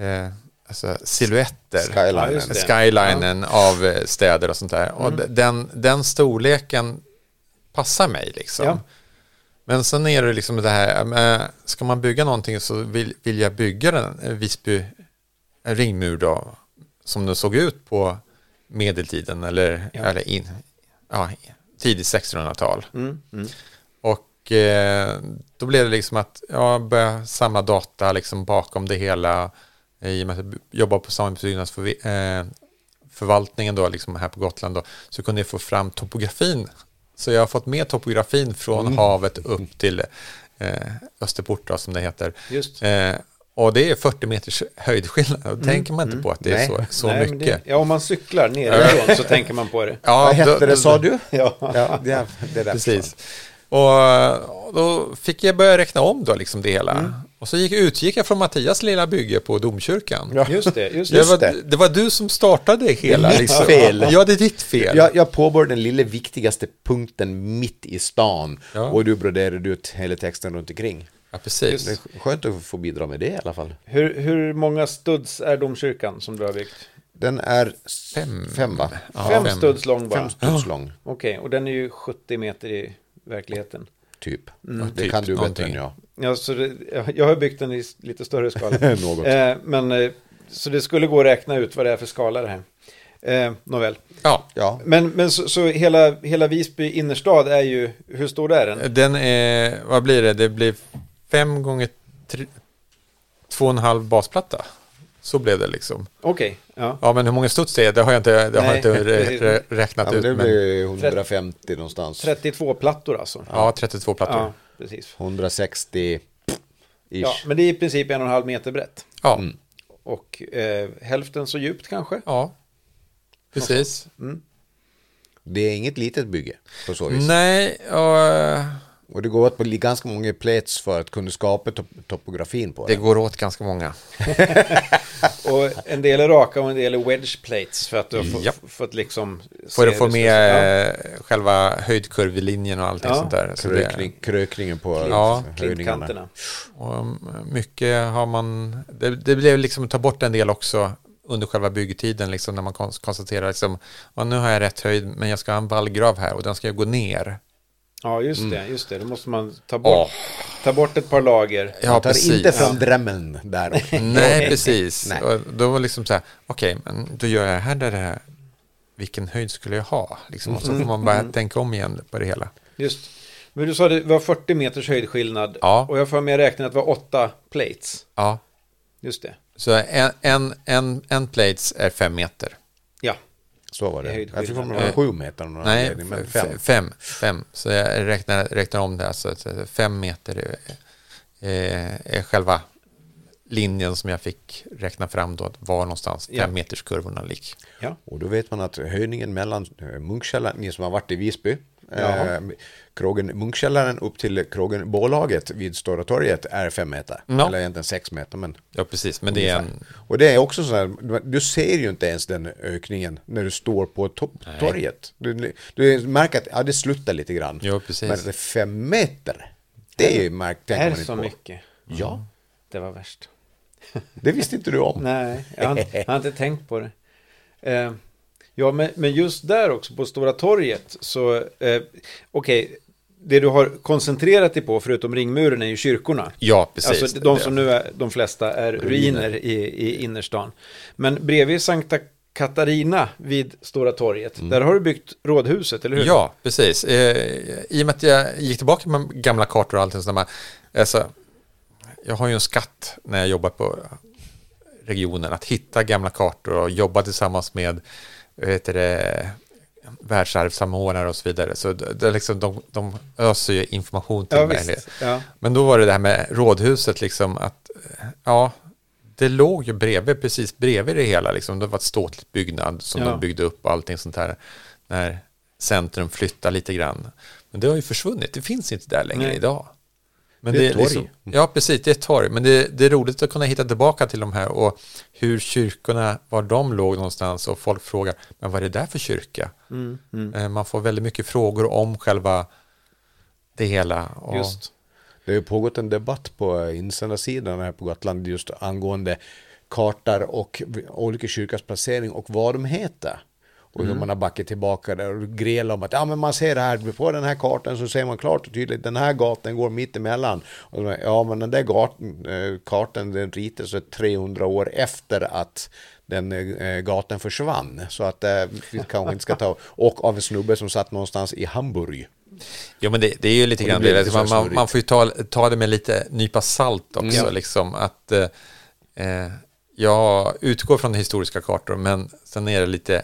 S3: eh, alltså, silhuetter
S1: Ja,
S2: Skylinen.
S1: just det. Mm.
S3: skylinen av eh, städer och sånt där. Och d- den, den storleken passar mig liksom.
S1: Ja.
S3: Men sen är det liksom det här, eh, ska man bygga någonting så vill, vill jag bygga den eh, Visby en ringmur då, som den såg ut på medeltiden eller, eller in, ja, tidigt 1600-tal.
S1: Mm,
S3: Och eh, då blev det liksom att jag började samla data liksom bakom det hela. eh, I och med att jag jobbar på samhällsbyggnadsförvaltningen då, liksom här på Gotland då, så kunde jag få fram topografin. Så jag har fått med topografin från
S2: Mm.
S3: havet upp till eh, Österport då, som det heter.
S1: Just.
S3: Eh, och det är 40 meters höjdskillnad. Då tänker man inte på att det är
S2: Mm. Nej.
S3: så, så
S1: Nej, men
S3: mycket.
S1: Det, ja, om man cyklar nerifrån så tänker man på det.
S3: Ja,
S2: Vad
S3: då-
S2: hette det,
S3: då-
S2: sa du?
S1: Ja.
S2: Ja, det, det där
S3: Precis. Och eh, då fick jag börja räkna om då liksom det hela.
S2: Mm.
S3: Och så gick, utgick jag från Mattias lilla bygge på domkyrkan.
S2: Ja.
S1: Just det, just
S3: det,
S1: det.
S2: Just
S3: var,
S2: det.
S3: det. var du som startade hela.
S2: mitt
S3: liksom.
S2: fel.
S3: Ja, det är ditt fel.
S2: Jag, jag påbörjade den lilla viktigaste punkten mitt i stan
S3: Ja.
S2: och du broderade ut hela texten runt omkring.
S3: Ja, precis.
S2: Det är skönt att få bidra med det i alla fall.
S1: Hur, hur många studs är domkyrkan som du har byggt?
S2: Den är s-
S3: Fem.
S2: fem va?
S3: Ja,
S1: fem,
S3: fem.
S1: studs lång bara.
S2: Fem studs lång,
S1: Okej, och den är ju 70 meter i verkligheten.
S2: typ. det
S3: typ
S2: kan du bättre
S3: någonting.
S2: än jag.
S1: Ja, så det, jag- jag har byggt den i s- lite större skala.
S2: Något.
S1: Eh, men, eh, så det skulle gå att räkna ut vad det är för skala det här. Eh, nåväl.
S3: Ja.
S2: Ja,
S1: Men, men så, så hela, hela Visby innerstad är ju, hur stor är den?
S3: Den är, vad blir det? Det blir fem gånger tre, två och en halv basplatta. Så blev det liksom.
S1: Okej, ja.
S3: Ja, men hur många studs det är, det har jag inte, det har jag
S1: Nej,
S3: inte
S1: precis.
S3: rä, rä, räknat
S2: ja men
S3: ut.
S2: det
S3: Men,
S2: blir 150 någonstans.
S1: 32 plattor alltså.
S3: ja, 32 plattor.
S1: Ja, precis.
S2: 160 ish.
S1: Ja, men det är i princip en och en halv meter brett.
S3: Ja,
S2: Mm.
S1: Och eh, hälften så djupt kanske.
S3: ja. precis.
S2: Det är inget litet bygge på så vis.
S3: Nej, och eh,
S2: Och det går åt på ganska många plats för att kunna skapa top topografin på
S3: det
S2: det.
S3: går åt ganska många.
S1: Och en del är raka och en del är wedge plates för att du har få,
S3: Ja.
S1: fått liksom...
S3: För att
S1: se
S3: få
S1: det så-
S3: med
S1: Ja.
S3: eh, själva höjdkurvlinjen och allting
S1: Ja.
S3: sånt där. Så
S2: Krökning,
S3: alltså, det,
S2: krökningen på
S3: Ja.
S2: höjningarna.
S1: Klippkanterna.
S3: och mm, mycket har man... Det, det blev liksom att ta bort en del också under själva byggtiden, liksom, när man kon- konstaterar liksom, "Ja, nu har jag rätt höjd, men jag ska ha en vallgrav här och den ska jag gå ner.
S1: Ja, just det, just det. Då måste man ta bort, ta bort ett par lager.
S3: Ja,
S2: Tar
S3: precis.
S2: inte fram drömmen där.
S3: Nej, precis.
S2: Nej.
S3: Och Då var det liksom så här, okej, men då gör jag här där det här. Vilken höjd skulle jag ha? Liksom, och så får man bara tänka om igen på det hela.
S1: Just. Men du sa det var 40 meters höjdskillnad.
S3: Ja.
S1: Och jag får med räkna att det var åtta plates.
S3: Ja,
S1: Just det.
S3: så en, en, en, en plates är fem meter.
S1: Ja.
S2: Så var det. Jag tror
S1: Höjdskillnad.
S2: att det var sju meter. av någon
S3: Eh, Nej,
S2: anledning, men
S3: fem.
S2: fem.
S3: fem. fem. Så jag räknar, räknar om det. Alltså, att fem meter är, eh, är, är själva linjen som jag fick räkna fram då. att Var någonstans
S1: Ja.
S3: fem meters kurvorna gick.
S1: Ja.
S2: Och då vet man att höjningen mellan eh, Munkkällaren, ni som har varit i Visby,
S1: Jaha.
S2: eh, krogen Munkkällaren upp till krogen Bålaget vid Stora torget är fem meter.
S3: Ja.
S2: Eller egentligen sex meter. Men
S3: Ja, precis. Men det är en...
S2: Och det är också så här, du ser ju inte ens den ökningen när du står på to- torget. Du, du märker att ja, det slutar lite grann.
S3: Jo, precis.
S2: Men att det är fem meter, det är märkt,
S1: är
S2: tänker man
S1: det
S2: inte
S1: så
S2: på.
S1: mycket?
S2: Ja,
S1: Det var värst.
S2: det visste inte du om.
S1: Nej, jag har, inte- jag har inte tänkt på det. Eh, ja, men, men just där också på Stora torget så, eh, okej, det du har koncentrerat dig på förutom ringmuren är ju kyrkorna.
S3: Ja, precis.
S1: Alltså de som nu är, de flesta är ruiner i, i innerstan. Men bredvid Sankta Katarina vid Stora torget, där har du byggt rådhuset, eller hur?
S3: Mm. Ja, precis. Eh, I och med att jag gick tillbaka med gamla kartor och allting sådär. Alltså, jag har ju en skatt när jag jobbar på regionen, att hitta gamla kartor och jobba tillsammans med vad heter det, världsarvssamordnare och så vidare. Så det, det är liksom, de, de öser ju information till
S1: Ja,
S3: mig.
S1: visst. Ja.
S3: Men då var det det här med rådhuset, liksom att eh, ja, det låg ju bredvid, precis bredvid det hela. Liksom. Det var ett ståtligt byggnad som
S1: Ja.
S3: de byggde upp och allting sånt här. När centrum flyttade lite grann. Men det har ju försvunnit, det finns inte där längre
S1: Nej.
S3: idag. Men liksom-
S2: Det är ett torg.
S3: ja, precis, det är ett torg. Men det, det är roligt att kunna hitta tillbaka till de här och hur kyrkorna, var de låg någonstans och folk frågar, men vad är det där för kyrka?
S2: Mm,
S3: Eh, Man får väldigt mycket frågor om själva det hela. Och,
S1: Just.
S2: Det har ju pågått en debatt på insändarsidan här på Gotland just angående kartar och v- olika kyrkors placering och vad de heter. Och hur man har backat tillbaka där och grälar om att ja, men man ser det här, på den här kartan så ser man klart och tydligt den här gatan går mitt emellan. Och de, ja, men den där gatan, eh, kartan den ritades 300 år efter att den eh, gatan försvann. Så att eh, vi kanske inte ska ta... Och av en snubbe som satt någonstans i Hamburg.
S3: Ja, men det, det är ju lite
S2: Och det
S3: grann
S2: blir
S3: det.
S2: lite
S3: Man,
S2: så Mm.
S3: man,
S2: snurrigt.
S3: man får ju ta, ta det med lite nypa salt också.
S1: Ja.
S3: Liksom, att, eh, eh, jag utgår från historiska kartor, men sen är det lite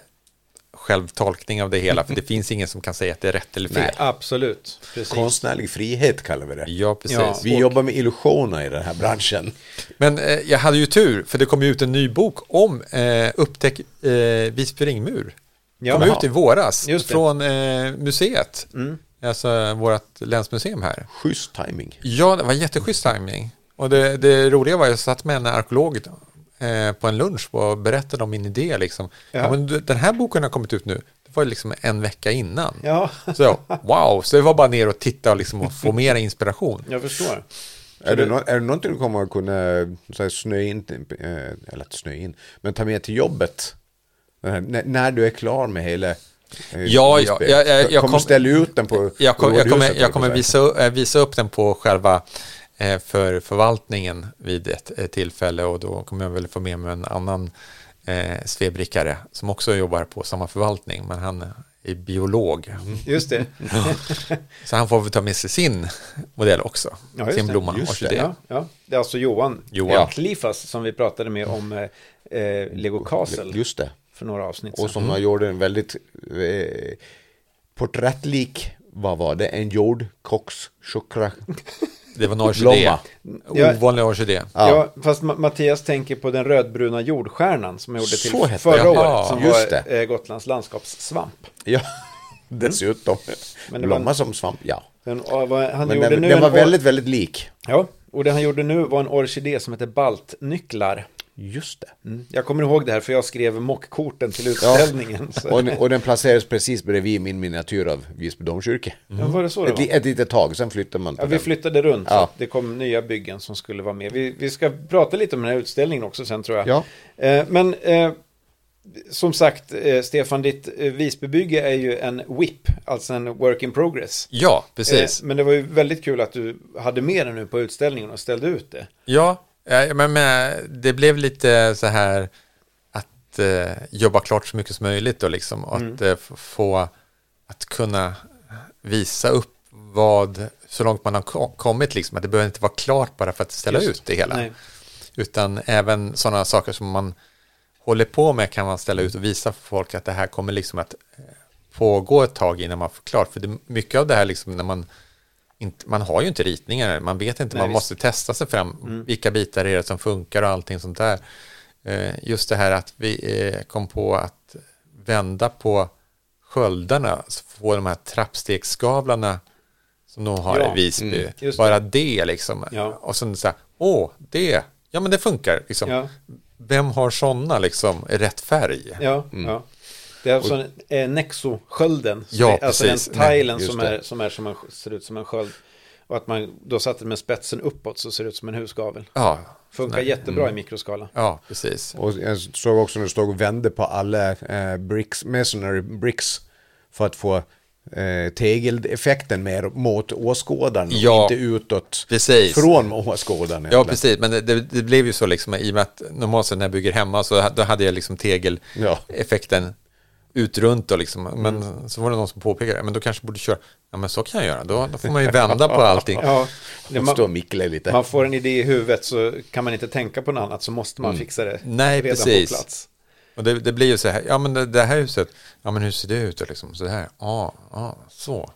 S3: självtolkning av det hela, för det finns ingen som kan säga att det är rätt eller fel.
S1: Absolut, precis.
S2: Konstnärlig frihet kallar vi det.
S3: Ja, precis.
S1: Ja.
S2: Vi jobbar med illusioner i den här branschen.
S3: Men eh, jag hade ju tur, för det kom ju ut en ny bok om eh, Upptäck eh, Visby ringmur.
S1: Ja.
S3: kom ut i våras
S1: Just det.
S3: från eh, museet,
S2: Mm.
S3: alltså vårt länsmuseum här.
S2: Schysst timing.
S3: Ja, det var jätteschysst timing. Och det, det roliga var att jag satt med en arkeolog eh, på en lunch och berättade om min idé. Liksom. Ja.
S1: Ja.
S3: men du, den här boken har kommit ut nu. Det var liksom en vecka innan.
S1: Ja.
S3: Så jag, wow, så det var bara ner och titta och, liksom, och få mer inspiration.
S1: Jag förstår.
S2: Är det, nå- är det någonting du kommer att kunna så här, snö in, till- eh, eller att snö in, men ta med till jobbet? Den här, när, när du är klar med hela eh,
S3: Ja, ja,
S2: Visby.
S3: jag- jag- jag
S2: kommer
S3: kom-
S2: du ställa ut den på
S3: Jag, kom, jag
S2: rådhuset,
S3: kommer,
S2: höll på
S3: jag
S2: att
S3: kommer
S2: säga.
S3: visa, eh, visa upp den på själva eh, för förvaltningen vid ett eh, tillfälle och då kommer jag väl få med mig en annan eh, svebrickare som också jobbar på samma förvaltning, men han är biolog.
S1: Just det.
S3: Så han får väl ta med sig sin modell också.
S1: Ja, just
S3: sin
S1: det.
S3: blomma.
S2: Just det,
S3: orkidé.
S1: Ja, ja. Det är alltså Johan,
S3: Johan.
S1: Johan. Klifas som vi pratade med om eh, eh, Lego Castle
S2: Just det.
S1: för några avsnitt
S2: Och
S1: sedan.
S2: som mm. gjorde en väldigt eh, porträttlik, vad var det, en jordkox, chokra.
S3: Det var en orkidé.
S1: Ja.
S3: Ovanlig orkidé.
S1: Ja. fast Ma- Mattias tänker på den rödbruna jordstjärnan som jag gjorde till
S2: Så hette
S1: förra
S3: den.
S1: året.
S3: Ja,
S1: som
S2: just
S1: var
S2: det.
S1: eh, Gotlands landskapssvamp.
S2: Ja, dessutom.
S1: Men det var-
S2: Blomma som svamp, ja.
S1: Den, och vad han
S2: Men
S1: gjorde
S2: den,
S1: nu
S2: den
S1: en
S2: var
S1: or-
S2: väldigt, väldigt lik.
S1: Ja, och det han gjorde nu var en orkidé som heter baltnycklar.
S2: Just det.
S1: Mm. Jag kommer ihåg det här för jag skrev mockkorten till utställningen. Så.
S2: Och, den- och den placerades precis bredvid min miniatyr av Visby domkyrka.
S1: Mm. Ja, var det så det
S2: Ett,
S1: var?
S2: li- ett litet tag, sen flyttade man på
S1: Ja, vi
S2: den.
S1: flyttade runt så
S2: Ja.
S1: att det kom nya byggen som skulle vara med. Vi, vi ska prata lite om den här utställningen också sen tror jag.
S2: Ja.
S1: Eh, men eh, som sagt, eh, Stefan, ditt eh, Visbybygge är ju en WIP, alltså en work in progress.
S3: Ja, precis.
S1: Eh, Men det var ju väldigt kul att du hade med det nu på utställningen och ställde ut det.
S3: Ja, eh, men, men eh, det blev lite så här att eh, jobba klart så mycket som möjligt och liksom och
S1: Mm.
S3: att eh, f- få att kunna visa upp vad så långt man har ko- kommit liksom att det behöver inte vara klart bara för att ställa
S1: Just.
S3: ut det hela.
S1: Nej.
S3: Utan även sådana saker som man håller på med kan man ställa ut och visa för folk att det här kommer liksom att eh, pågå ett tag innan man får klart. För det, mycket av det här liksom när man inte, man har ju inte ritningar, man vet inte,
S1: Nej,
S3: man
S1: visst.
S3: måste testa sig fram,
S1: Mm.
S3: vilka bitar är det som funkar och allting sånt där. Eh, just det här att vi eh, kom på att vända på sköldarna, så få de här trappstegsskavlarna som de har
S1: Ja,
S3: i Visby,
S1: mm, just det.
S3: bara det liksom.
S1: Ja.
S3: Och sen så här, åh, det, ja men det funkar liksom.
S1: Ja.
S3: Vem har sådana liksom, rätt färg?
S1: Ja, ja. Det är alltså en, eh, Nexo-skölden. som
S3: Ja,
S1: är- alltså
S3: precis.
S1: den tilen
S2: Nej, just
S1: som,
S2: det.
S1: är, som, är som en, ser ut som en sköld. Och att man då satte med spetsen uppåt så ser det ut som en husgavel.
S3: Ja,
S1: Funkar
S3: Nej, Mm.
S1: jättebra i mikroskala.
S3: ja precis.
S2: Och jag såg också när du stod och vände på alla eh, bricks, masonry bricks för att få eh, tegeleffekten mer mot åskådaren, och
S3: Ja.
S2: inte utåt
S3: Precis.
S2: från åskådaren.
S1: Eh,
S3: Ja,
S2: egentligen.
S3: precis. Men det, det, det blev ju så liksom i och med att normalt sett när jag bygger hemma så ha- då hade jag liksom
S2: Ja.
S3: tegeleffekten ut runt och liksom. Men
S1: Mm.
S3: så var det någon som påpekade det. Men då kanske jag borde köra. Ja, men så kan jag göra. Då, då får man ju vända på allting.
S1: Ja, det,
S2: Och stå och
S1: man,
S2: mickla lite.
S1: man får en idé i huvudet så kan man inte tänka på något annat så måste man fixa det
S3: Mm. Nej,
S1: redan
S3: precis.
S1: på plats.
S3: Och det, det blir ju så här. Ja, men det, det här huset. Ja, men hur ser det ut? då, Liksom? Så här. Ja, ja så.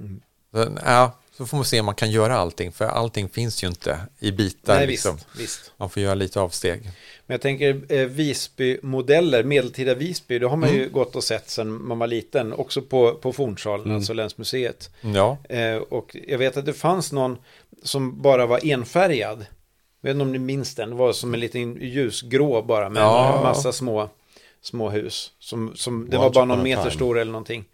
S1: Mm.
S3: Så, ja, så får man se om man kan göra allting. För allting finns ju inte i bitar.
S1: Nej,
S3: liksom.
S1: visst, visst.
S3: Man får göra lite avsteg.
S1: Men jag tänker eh, Visby-modeller, medeltida Visby, det har man
S3: Mm.
S1: ju gått och sett sedan man var liten, också på, på Fornsalen,
S3: Mm.
S1: alltså länsmuseet.
S3: Ja,
S1: Eh, och jag vet att det fanns någon som bara var enfärgad. Jag vet inte om ni minns den, det var som en liten ljusgrå bara med
S3: Ja.
S1: en massa små, små hus. Som, som, det
S2: Once
S1: var bara
S2: upon
S1: någon
S2: a
S1: meter
S2: time.
S1: stor eller någonting.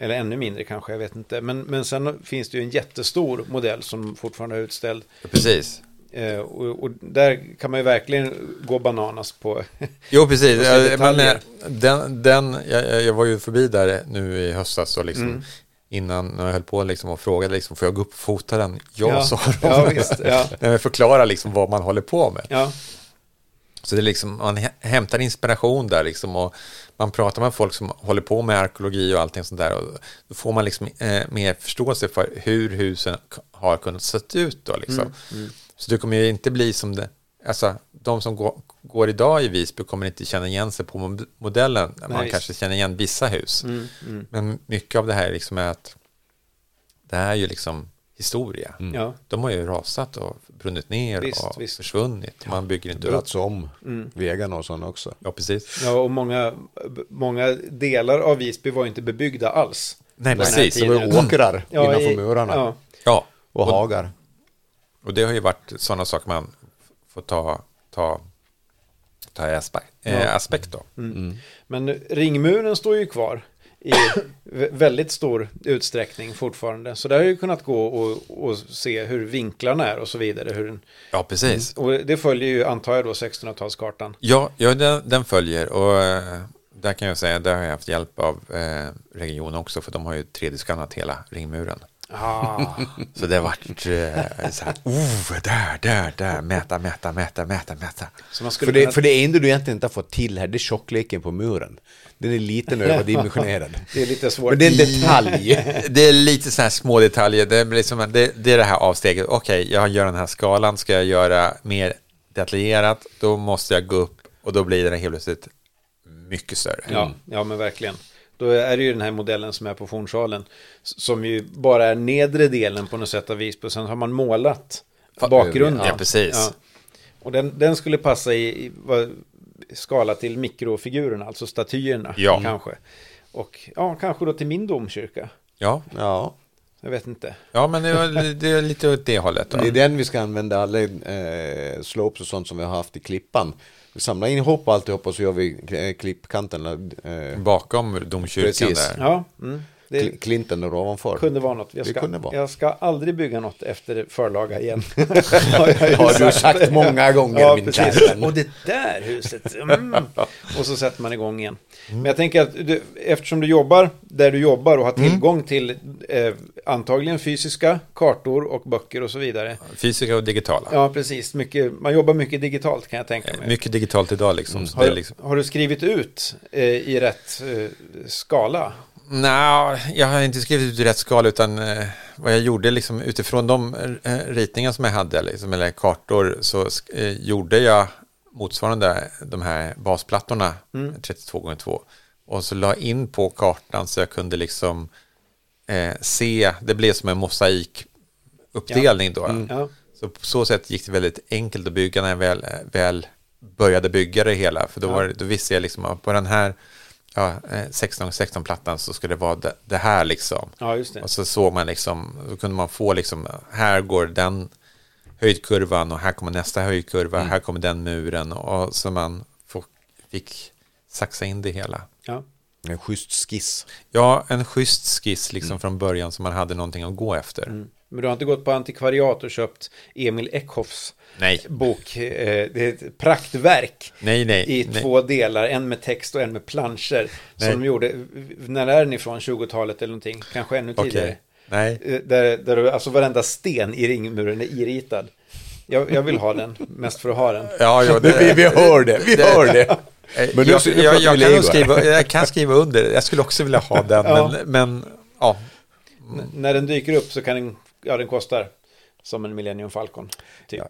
S1: Eller ännu mindre kanske, jag vet inte. Men, men sen finns det ju en jättestor modell som fortfarande är utställd.
S3: precis.
S1: Eh, och, och där kan man ju verkligen gå bananas på.
S3: Jo, precis.
S1: Och så
S3: Jag, men,
S1: detaljer.
S3: eh, den, den, jag, jag- jag var ju förbi där nu i höstas och liksom,
S1: Mm.
S3: innan när jag höll på liksom, och frågade liksom, får jag gå upp och fota den? Ja,
S1: Ja.
S3: sa de.
S1: Ja, visst, ja.
S3: Nej, men förklara liksom, vad man håller på med.
S1: ja,
S3: Så det är liksom, man hä- hämtar inspiration där liksom, och man pratar med folk som håller på med arkeologi och allting sånt där. Och då får man liksom, eh, mer förståelse för hur husen k- har kunnat se ut. Då, liksom.
S1: Mm,
S3: Så det kommer ju inte bli som det, alltså de som går, går idag i Visby kommer inte känna igen sig på mo- modellen.
S1: Nej,
S3: Man
S1: visst. Mm.
S3: kanske känner igen vissa hus.
S2: Mm,
S3: Men mycket av det här liksom är att det här är ju liksom historia.
S1: ja.
S3: De har ju rasat och brunnit ner
S1: Visst,
S3: och
S1: visst.
S3: försvunnit. Man bygger inte upp.
S2: Bröts om
S1: Mm.
S2: vägarna och sådana också.
S3: Ja, precis.
S1: Ja, och många, många delar av Visby var ju inte bebyggda alls.
S3: Nej,
S1: på den här
S3: precis.
S2: Det
S1: tiden.
S2: var ju åkrar
S1: Ja, i-
S2: innanför murarna
S1: Ja,
S3: Ja,
S2: och hagar.
S3: och det har ju varit sådana saker man får ta, ta, ta i aspekt, eh, aspekt då.
S1: Mm.
S2: Mm.
S1: men ringmuren står ju kvar i vä- väldigt stor utsträckning fortfarande. Så där har jag ju kunnat gå och, och se hur vinklarna är och så vidare. Hur den,
S3: Ja, precis.
S1: och det följer ju, antar jag då, 1600-talskartan.
S3: Ja, ja den, den följer och eh, där kan jag säga, där har jag haft hjälp av eh, regionen också, för de har ju 3D-skannat hela ringmuren.
S1: Ah,
S3: Så det har varit eh, så här, oh, där, där, där, mäta, mäta, mäta, mäta, mäta.
S1: så man skulle
S2: För det,
S1: kunna...
S2: för det enda du egentligen inte har fått till här, det är tjockleken på muren. Den är liten och överdimensionerad.
S1: det är lite svårt.
S2: Men det är en detalj.
S3: Det är lite så här små detaljer. Det är, liksom, det, det, är det här avsteget. Okej, jag gör den här skalan. Ska jag göra mer detaljerat, då måste jag gå upp och då blir den helt plötsligt mycket större.
S1: Ja,
S2: Mm.
S1: ja, men verkligen. Då är det ju den här modellen som är på Fornsalen. s- Som ju bara är nedre delen på något sätt av Visby. och Sen har man målat
S2: eh,
S3: Fa-
S1: bakgrunden.
S3: Ja, precis.
S1: Och den, den skulle passa i, i vad- skala till mikrofigurerna, alltså statyerna
S2: Mm.
S3: Ja.
S1: kanske. Och ja, kanske då till min domkyrka.
S3: Ja,
S2: Ja.
S1: Jag vet inte.
S3: ja men det, var- det är lite åt det hållet. Då.
S2: Det är den vi ska använda alla eh, slopes och sånt som vi har haft i klippan. Vi samlar in ihop alltihop och så gör vi eh, klippkanten. Eh,
S3: Bakom domkyrkan
S2: Precis.
S3: där.
S1: Ja, mm. Det
S2: Cl- Clinton och ovanför.
S1: kunde vara något. Jag
S2: Det
S1: ska,
S2: kunde vara.
S1: jag ska aldrig bygga något efter förlaga igen.
S2: Det har du sagt många gånger,
S1: Ja,
S2: min
S1: precis.
S2: kära vän.
S1: Och det där huset. Mm. Och så sätter man igång igen. Men jag tänker att du, eftersom du jobbar där du jobbar och har tillgång till eh, antagligen fysiska kartor och böcker och så vidare.
S3: Fysiska och digitala.
S1: Ja, precis. Mycket, man jobbar mycket digitalt kan jag tänka mig.
S3: Mycket digitalt idag liksom.
S2: Mm.
S3: Så
S1: Har,
S3: det är liksom
S1: har du skrivit ut eh, i rätt eh, skala?
S3: Nej, jag har inte skrivit ut i rätt skala utan eh, vad jag gjorde liksom, utifrån de eh, ritningar som jag hade, liksom, eller kartor, så sk- eh, gjorde jag motsvarande de här basplattorna, 32x2, och så la in på kartan så jag kunde liksom eh, se, det blev som en mosaikuppdelning då.
S1: Ja. Mm.
S3: Så på så sätt gick det väldigt enkelt att bygga när jag väl, väl började bygga det hela. För då, var, det- då visste jag liksom att på den här ja, 16x16-plattan så skulle det vara det, det här liksom.
S1: ja, just det.
S3: Och så såg man liksom, då kunde man få liksom, här går den höjdkurvan och här kommer nästa höjdkurva,
S1: Mm.
S3: här kommer den muren. Och så man få- fick saxa in det hela.
S1: Ja.
S2: En schysst skiss.
S3: Ja, en schysst skiss liksom
S1: Mm.
S3: från början som man hade någonting att gå efter.
S1: Men du har inte gått på antikvariat och köpt Emil Eckhoffs
S3: Nej.
S1: bok. Eh, det är ett praktverk
S3: Nej, nej.
S2: Eh,
S1: i
S3: nej.
S1: två delar, en med text och en med planscher.
S3: Nej.
S1: Som de gjorde, när är den ifrån? 20-talet eller någonting, kanske ännu
S3: Okej.
S1: tidigare.
S3: Nej.
S1: Eh, Där, där du- alltså varenda sten i ringmuren är iritad. Jag, jag vill ha den, mest för att ha den.
S3: Ja, ja,
S2: Vi, vi, vi hör det, vi hör det.
S3: Eh,
S2: Men nu,
S3: jag,
S2: nu pratar
S3: jag,
S2: vi
S3: jag, kan
S2: Lego
S3: nog
S2: här.
S3: skriva, jag kan skriva under, jag skulle också vilja ha den,
S1: Ja.
S3: men, men ja.
S1: N- När den dyker upp så kan den, ja den kostar som en Millennium Falcon. Typ.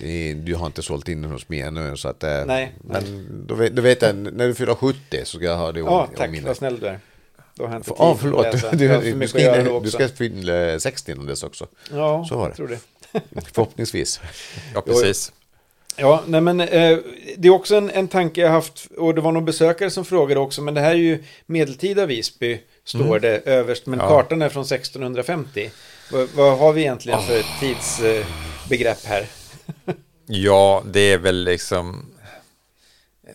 S2: Det är- Du har inte sålt in den hos mig ännu så att... eh,
S1: Nej.
S2: Men då vet, då vet jag, när du fyller 70 så ska jag ha det om,
S1: Ja,
S2: om
S1: tack,
S2: mina-
S1: vad snäll du är. Då har jag inte
S2: För- Ja,
S1: tid
S2: förlåt.
S1: att läsa.
S2: Du,
S1: Jag har för
S2: du,
S1: mycket
S2: ska
S1: att göra då
S2: in, du
S1: också.
S2: ska fylla 60 innan dess också.
S1: Ja,
S2: Så var
S1: jag
S2: det.
S1: tror det.
S2: Förhoppningsvis.
S3: ja, precis.
S1: Ja, nej men eh, det är också en, en tanke jag haft, och det var någon besökare som frågade också, men det här är ju medeltida Visby, står det överst, men
S3: Mm. Ja.
S1: kartan är från 1650. Vad- vad har vi egentligen för
S3: Ah.
S1: tidsbegrepp eh, begrepp här?
S3: Ja, det är väl liksom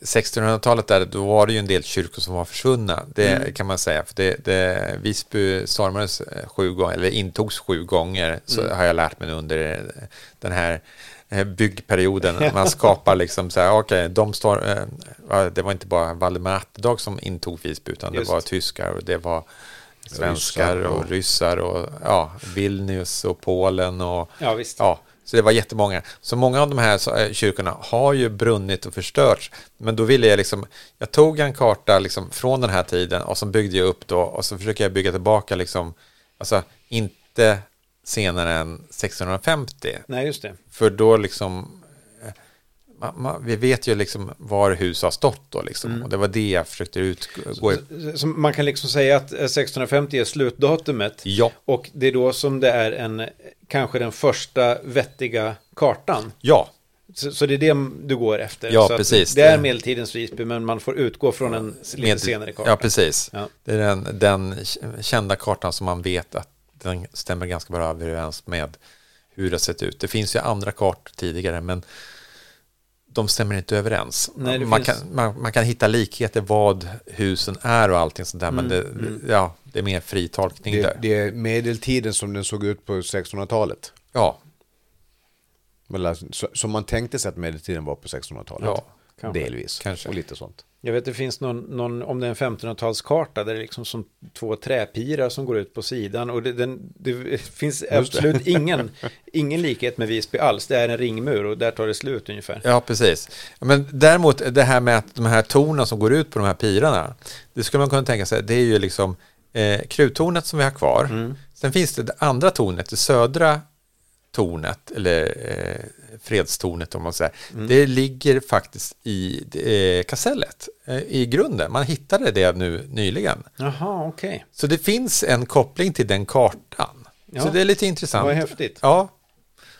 S3: 1600-talet där, då var det ju en del kyrkor som var försvunna, det
S1: Mm.
S3: kan man säga. För det, det, Visby stormades eh, sju gånger, eller intogs sju gånger, så
S1: Mm.
S3: har jag lärt mig under eh, den här eh, byggperioden. Man skapar liksom så här, okej, de stor- eh, ja, det var inte bara Valdemar Atterdag som intog Visby, utan
S1: Just.
S3: det var tyskar och det var svenskar
S2: Ryssar och-
S3: och ryssar och ja, Vilnius och Polen och
S1: Ja, visst.
S3: Ja, så det var jättemånga. Så många av de här så- eh, kyrkorna har ju brunnit och förstörts. Men då ville jag liksom, jag tog en karta liksom från den här tiden och så byggde jag upp då och så försöker jag bygga tillbaka liksom, alltså inte senare än 1650.
S1: Nej, just det.
S3: För då liksom, eh, ma- ma- vi vet ju liksom var hus har stått då liksom. Och det var det jag försökte utgå i.
S1: Så man kan liksom säga att eh, 1650 är slutdatumet.
S3: Ja.
S1: Och det är då som det är en, eh, kanske den första vettiga kartan.
S3: Ja,
S1: Så, så det är det du går efter.
S3: Ja,
S1: så att
S3: precis.
S1: Det är medeltidens Visby, men man får utgå från en lite
S3: Med-
S1: senare karta.
S3: Ja, precis.
S1: Ja.
S3: Det är den, den kända kartan som man vet att den stämmer ganska bra överens med hur det har sett ut. Det finns ju andra kartor tidigare, men de stämmer inte överens.
S1: Nej, det
S3: man,
S1: finns-
S3: kan, man, man kan hitta likheter vad husen är och allting sånt där, men
S1: Mm,
S3: det, Ja, det är mer fri tolkning
S2: Det,
S3: där.
S2: det är medeltiden som den såg ut på 1600-talet.
S3: ja,
S2: Eller, så- Som man tänkte sig att medeltiden var på 1600-talet.
S3: Ja,
S1: kanske.
S2: Delvis.
S3: Kanske.
S2: Och lite sånt.
S1: Jag vet det finns någon, någon om det är en 1500-talskarta där det är liksom som två träpirar som går ut på sidan och det, den, det finns absolut ingen, ingen likhet med Visby alls. Det är en ringmur och där tar det slut ungefär.
S3: Ja, precis. Men däremot det här med att de här tornen som går ut på de här pirarna, det skulle man kunna tänka sig, det är ju liksom eh, kruttornet som vi har kvar. Sen finns det det andra tornet, det södra tornet, eller eh, fredstornet om man säger. Det ligger faktiskt i eh, kasellet, eh, i grunden. Man hittade det nu nyligen.
S1: Jaha, okej.
S3: Så det finns en koppling till den kartan.
S1: Ja.
S3: Så det är lite intressant.
S1: Vad häftigt.
S3: Ja.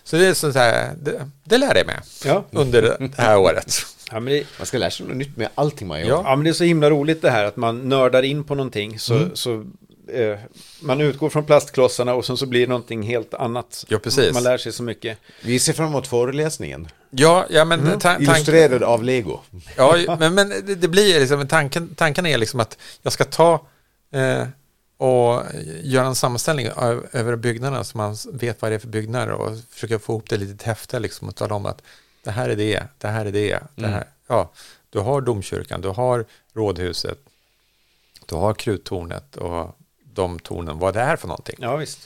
S3: Så det är sånt här, det, det lär jag mig
S1: Ja.
S3: under det här året.
S1: Ja, men det,
S2: Man ska lära sig något nytt med allting man gör.
S3: Ja.
S1: ja, men det är så himla roligt det här att man nördar in på någonting så,
S3: Mm.
S1: så eh, man utgår från plastklossarna och sen så blir det någonting helt annat.
S3: Ja, precis.
S1: Man lär sig så mycket.
S2: Vi ser fram emot föreläsningen.
S3: Ja, ja men, ta- tanken-
S2: Illustrerad av Lego.
S3: ja, men, men det, det blir liksom, tanken, tanken är liksom att jag ska ta eh, och göra en sammanställning ö- över byggnaderna så man s- vet vad det är för byggnader och försöka få ihop det litet häfte liksom och tala om att det här är det, det här är det, det här. Ja, du har domkyrkan, du har rådhuset, du har kruttornet och de tornen, vad det är för någonting.
S1: Ja, visst.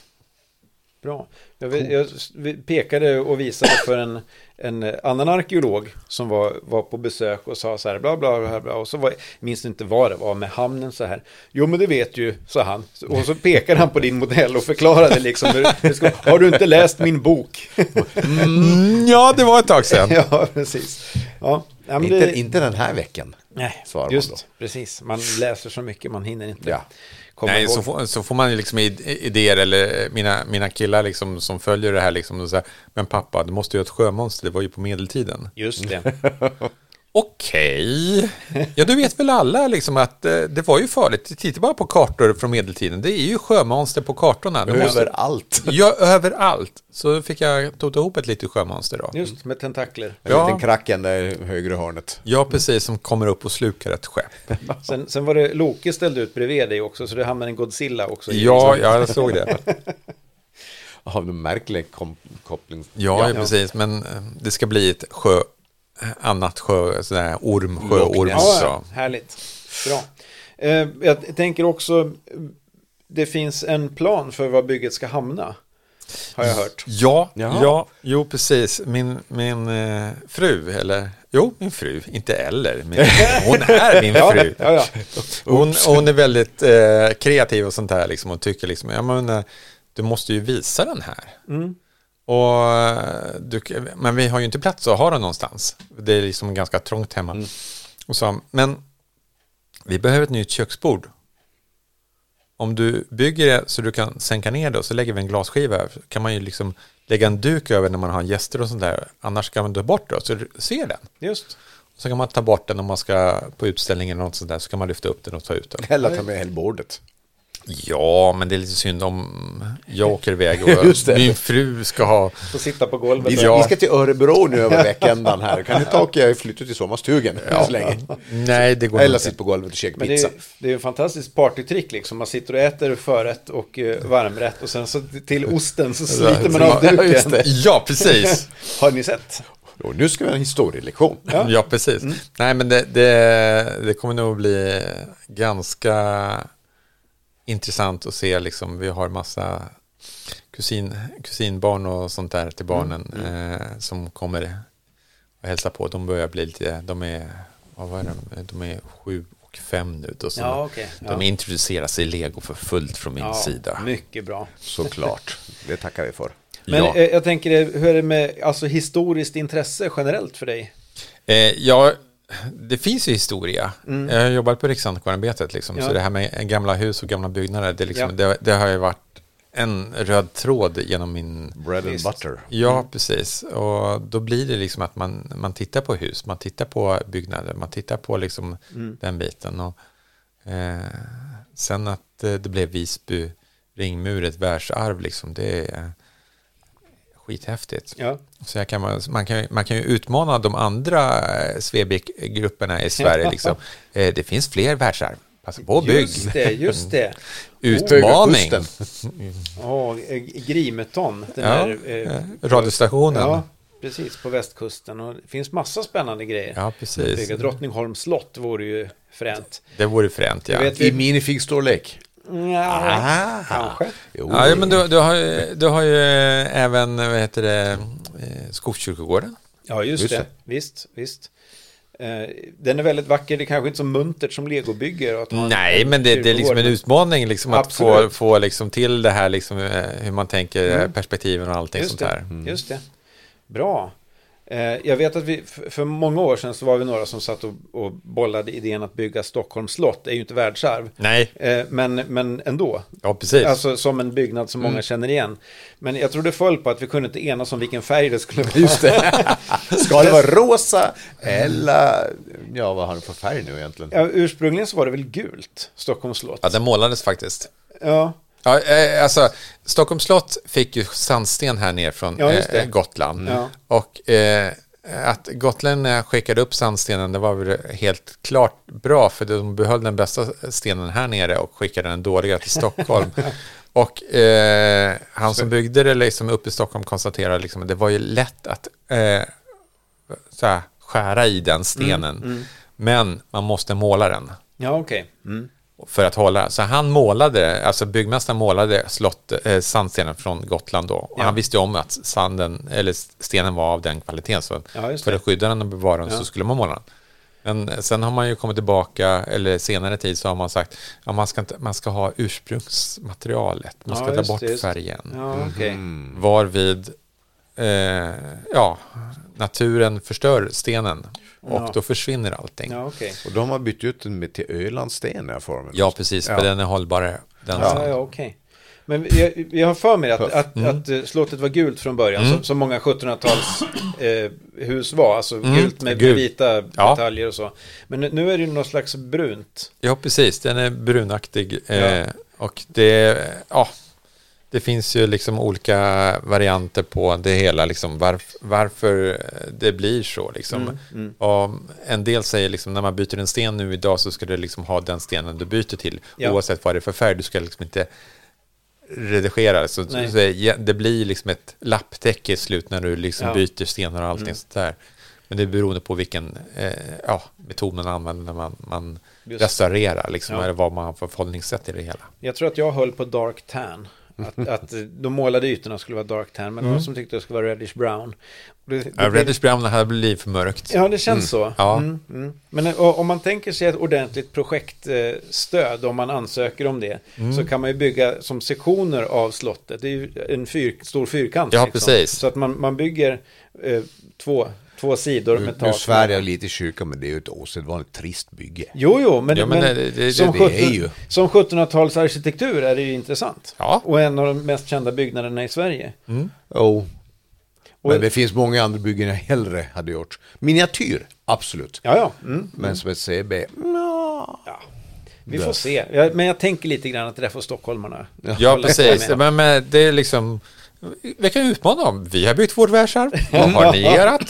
S1: Bra. Jag, vill, jag s- vi pekade och visade för en, en annan arkeolog som var, var på besök och sa så här, bla bla bla, bla. och så var, jag minns inte vad det var med hamnen så här. Jo, men det vet ju, sa han. Och så pekade han på din modell och förklarade liksom, hur, hur ska, har du inte läst min bok?
S3: Mm, ja, det var ett tag sedan.
S1: ja, precis. Ja, ja, men
S2: Inte,
S1: det-
S2: inte den här veckan.
S1: nej,
S2: svarar man
S1: just
S2: då.
S1: precis. Man läser så mycket, man hinner inte
S2: Ja.
S1: komma
S3: Nej,
S1: ihåg.
S3: så får, så får man ju liksom id- idéer eller eh, mina, mina killar liksom som följer det här liksom. Och så här, men pappa, du måste ju ha ett sjömonster, det var ju på medeltiden.
S1: Just det.
S3: Okej, ja du vet väl alla liksom att eh, det var ju förut, titta bara på kartor från medeltiden, det är ju sjömonster på kartorna. Du måste-
S2: Överallt.
S3: Ja, överallt. Så fick jag tota ihop ett litet sjömonster då.
S1: Just med tentakler.
S2: En
S3: Ja.
S2: liten kracken där i högra hörnet.
S3: Ja, precis, som kommer upp och slukar ett skepp.
S1: Sen, sen var det Loke ställde ut bredvid dig också, så det hamnade en Godzilla också. i.
S3: Ja, ja, jag såg det.
S2: Av en märklig kom- koppling.
S3: Ja, ja, precis. Men eh, det ska bli ett sjö, eh, annat sjö, sådär orm, sjöorm.
S1: Ja,
S3: Ja.
S1: ja, härligt. Bra. Eh, jag tänker också, eh, det finns en plan för var bygget ska hamna. Har jag hört.
S3: Ja,
S2: Jaha.
S3: ja, jo precis. Min, min eh, fru, eller jo, min fru, inte eller, men hon är min
S1: Ja,
S3: fru.
S1: ja, ja.
S3: Hon, hon är väldigt eh, kreativ och sånt här liksom och tycker liksom, ja men eh, du måste ju visa den här. Och, eh, du, men vi har ju inte plats att ha den någonstans. Det är liksom ganska trångt hemma. Och så, men vi behöver ett nytt köksbord. Om du bygger det så du kan sänka ner det och så lägger vi en glasskiva här. Så kan man ju liksom lägga en duk över när man har gäster och sånt där. Annars kan man ta bort det och så du ser den.
S1: Just.
S3: Så kan man ta bort den om man ska på utställningen eller något sånt där. Så kan man lyfta upp den och ta ut den.
S2: Eller ta med hela bordet.
S3: Ja, men det är lite synd om jag åker iväg och
S2: Just det.
S3: min fru ska ha...
S1: Få sitta på golvet.
S2: Vi,
S1: och-
S2: ska- vi ska till Örebro nu över veckan här. Kan du ta och eh, flytta till sommarstugan så länge?
S3: Nej, det går
S2: Eller
S3: inte.
S2: sitta på golvet och käka
S1: Men det
S2: pizza.
S1: är, det är en fantastisk partytrick liksom. Man sitter och äter förrätt och eh, varmrätt och sen så till osten så sliter man av
S2: Ja, just
S1: duken.
S2: det.
S3: Ja, precis.
S1: Har ni sett?
S2: Och nu ska vi ha en historielektion.
S3: Ja, precis.
S1: Mm.
S3: Nej, men det, det, det kommer nog bli ganska intressant att se. Liksom, vi har massa kusin, kusinbarn och sånt där
S1: Mm.
S3: till barnen Eh, som kommer och hälsar på. De börjar bli lite, de är, vad var det, de är sju och fem nu. Då, så
S1: Ja, okej. Ja.
S3: De introduceras i lego för fullt från min sida.
S1: mycket bra.
S2: Såklart. Det tackar vi för.
S1: Men
S3: ja.
S1: eh, jag tänker, eh, hur är det med alltså, historiskt intresse generellt för dig?
S3: Eh, ja, det finns ju historia. Jag har jobbat på Riksantikvarieämbetet, liksom,
S1: Mm. Ja.
S3: så det här med gamla hus och gamla byggnader, det, är liksom,
S1: Ja.
S3: det, det har ju varit en röd tråd genom min...
S2: Bread and
S1: Visst.
S2: butter.
S3: Ja,
S1: Mm.
S3: precis. Och då blir det liksom att man, man tittar på hus, man tittar på byggnader, man tittar på liksom
S1: Mm.
S3: den biten. Och, eh, sen att eh, det blev Visby ringmur, ett världsarv, liksom, det är skithäftigt.
S1: Ja.
S3: Så jag kan, man, man, kan, man kan ju utmana de andra eh, Svebik-grupperna i Sverige. liksom. Eh, det finns fler världsarv. Passa på och bygg.
S1: Just det, just det.
S3: Utmaning.
S2: Höga kusten.
S1: Ja, eh, Grimeton, den
S3: Ja,
S1: där... Eh,
S3: eh, radiostationen.
S1: ja,
S3: Ja.
S1: precis, på västkusten. Och det finns massa spännande grejer.
S3: precis.
S1: Bygga Drottningholms slott vore ju fränt.
S3: Det vore fränt, ja.
S1: Jag vet-
S2: I minifigstorlek.
S1: Ja,
S3: Ah.
S1: kanske.
S2: Jo,
S3: ja ja, men du, du, har, ju- du har ju eh, även, vad heter det, eh, Skogskyrkogården.
S1: Ja, just,
S2: Just
S1: det.
S2: det.
S1: Visst, visst. Eh, Den är väldigt vacker, det är kanske inte så muntert som legobygger. och Att ha en-
S3: Nej, men det, det är liksom en
S1: kyrkogård.
S3: utmaning liksom, att få,
S1: Absolut. Mm.
S3: få liksom, till det här, liksom, eh, hur man tänker, eh, perspektiven och allting
S1: Just
S3: sånt Mm.
S1: det,
S3: där.
S1: Just det. Bra. Eh, Jag vet att vi, f- för många år sedan så var vi några som satt och, och bollade idén att bygga Stockholms slott. Det är ju inte världsarv.
S3: Nej,
S1: Eh, Men, men ändå.
S3: ja precis.
S1: Alltså som en byggnad som
S3: Mm.
S1: många känner igen. Men jag tror det föll på att vi kunde inte enas om vilken färg det skulle vara.
S2: Just det. Ska det vara rosa eller... Ja, vad har den för färg nu egentligen?
S1: Ja, ursprungligen så var det väl gult, Stockholms slott.
S3: ja, den målades faktiskt.
S1: Ja,
S3: Ja, eh, alltså, Stockholms slott fick ju sandsten här ner från
S1: Ja, just det.
S3: eh, Gotland.
S1: Ja.
S3: Och eh, att gotlänningarna skickade upp sandstenen, det var väl helt klart bra, för de behöll den bästa stenen här nere och skickade den dåliga till Stockholm. och eh, han som byggde det liksom uppe i Stockholm konstaterade liksom, att det var ju lätt att eh, så här, skära i den stenen, men man måste måla den
S1: Ja, okej. Mm.
S3: för att hålla. Så han målade, alltså byggmästaren målade slott, eh, sandstenen från Gotland då. Och
S1: Ja.
S3: han visste ju om att sanden, eller stenen var av den kvaliteten. Så
S1: Ja, just
S3: för
S1: det.
S3: att skydda den och bevara den så skulle man måla den. Men sen har man ju kommit tillbaka, eller senare tid så har man sagt att ja, man, ska inte- man ska ha ursprungsmaterialet, man ska
S1: Ja,
S3: ta
S1: just
S3: bort
S1: det, just det.
S3: färgen.
S1: Ja, okej.
S3: Mm. Varvid eh, ja, naturen förstör stenen och
S1: Ja.
S3: då försvinner allting.
S1: Ja, okej.
S2: Och de har bytt ut den med till Ölandsten i formen.
S3: Ja, precis, för den är hållbarare. Den
S1: Ja,
S3: sanden.
S1: ja, okej. Men jag, jag har för mig att, att,
S3: Mm.
S1: att eh, slottet var gult från början, som, som många 1700-tals eh, hus var. Alltså gult med
S3: Mm. Gult.
S1: vita
S3: Ja.
S1: detaljer och så. Men nu- nu är det ju något slags brunt.
S3: Ja, precis. Den är brunaktig. Eh,
S1: Ja.
S3: och det, ja, det finns ju liksom olika varianter på det hela. Liksom varf, varför det blir så. Liksom.
S1: Mm,
S3: Och en del säger liksom, när man byter en sten nu idag så ska du liksom ha den stenen du byter till.
S1: Ja.
S3: Oavsett vad det är för färg. Du ska liksom inte redigera. Så, så,
S1: Nej.
S3: ja, det blir liksom ett lapptäcke i slut när du liksom
S1: Ja. Mm.
S3: byter stenar och allting sånt där. Men det är beroende på vilken eh, ja, metod man använder när man, man
S1: Just.
S3: restaurerar, liksom,
S1: Ja.
S3: eller vad man har för förhållningssätt i det hela.
S1: Jag tror att jag höll på dark tan. Att, att eh, de målade ytorna skulle vara dark tan, men någon som tyckte det skulle vara reddish brown. Och det- det
S3: Mm. Ja,
S1: blir-
S3: Reddish Brown hade blivit för mörkt.
S1: Ja, det känns så.
S3: Ja.
S1: Mm, mm. Men eh, o- om man tänker sig ett ordentligt projektstöd, om man ansöker om det,
S3: Mm.
S1: så kan man ju bygga som sektioner av slottet. Det är ju en fyr, stor fyrkant. liksom.
S3: Ja, precis.
S1: Så att man, man bygger eh, två, två sidor
S2: Nu,
S1: med tak.
S2: nu svär jag lite i kyrkan, men det är ju ett osedvanligt trist bygge.
S1: Jo, jo, men,
S3: Ja, men
S1: men,
S3: det- det-
S1: som,
S2: det är
S1: 17
S2: ju.
S1: som 1700-talsarkitektur är det ju intressant.
S3: Ja. Mm.
S1: Och en av de mest kända byggnaderna i Sverige.
S2: Jo.
S1: Och-
S2: Men det finns många andra byggen jag hellre hade gjort. Miniatyr, absolut.
S1: Ja, ja. Mm.
S2: Men som ett CB, nja.
S1: ja. Vi får se. Jag, men jag tänker lite grann att det där får stockholmarna.
S3: Ja,
S1: hålla sig
S3: precis.
S1: med.
S3: Men, men det är liksom... Vi kan ju utmana dem. Vi har byggt vårt världsarv. Vad har ni erat?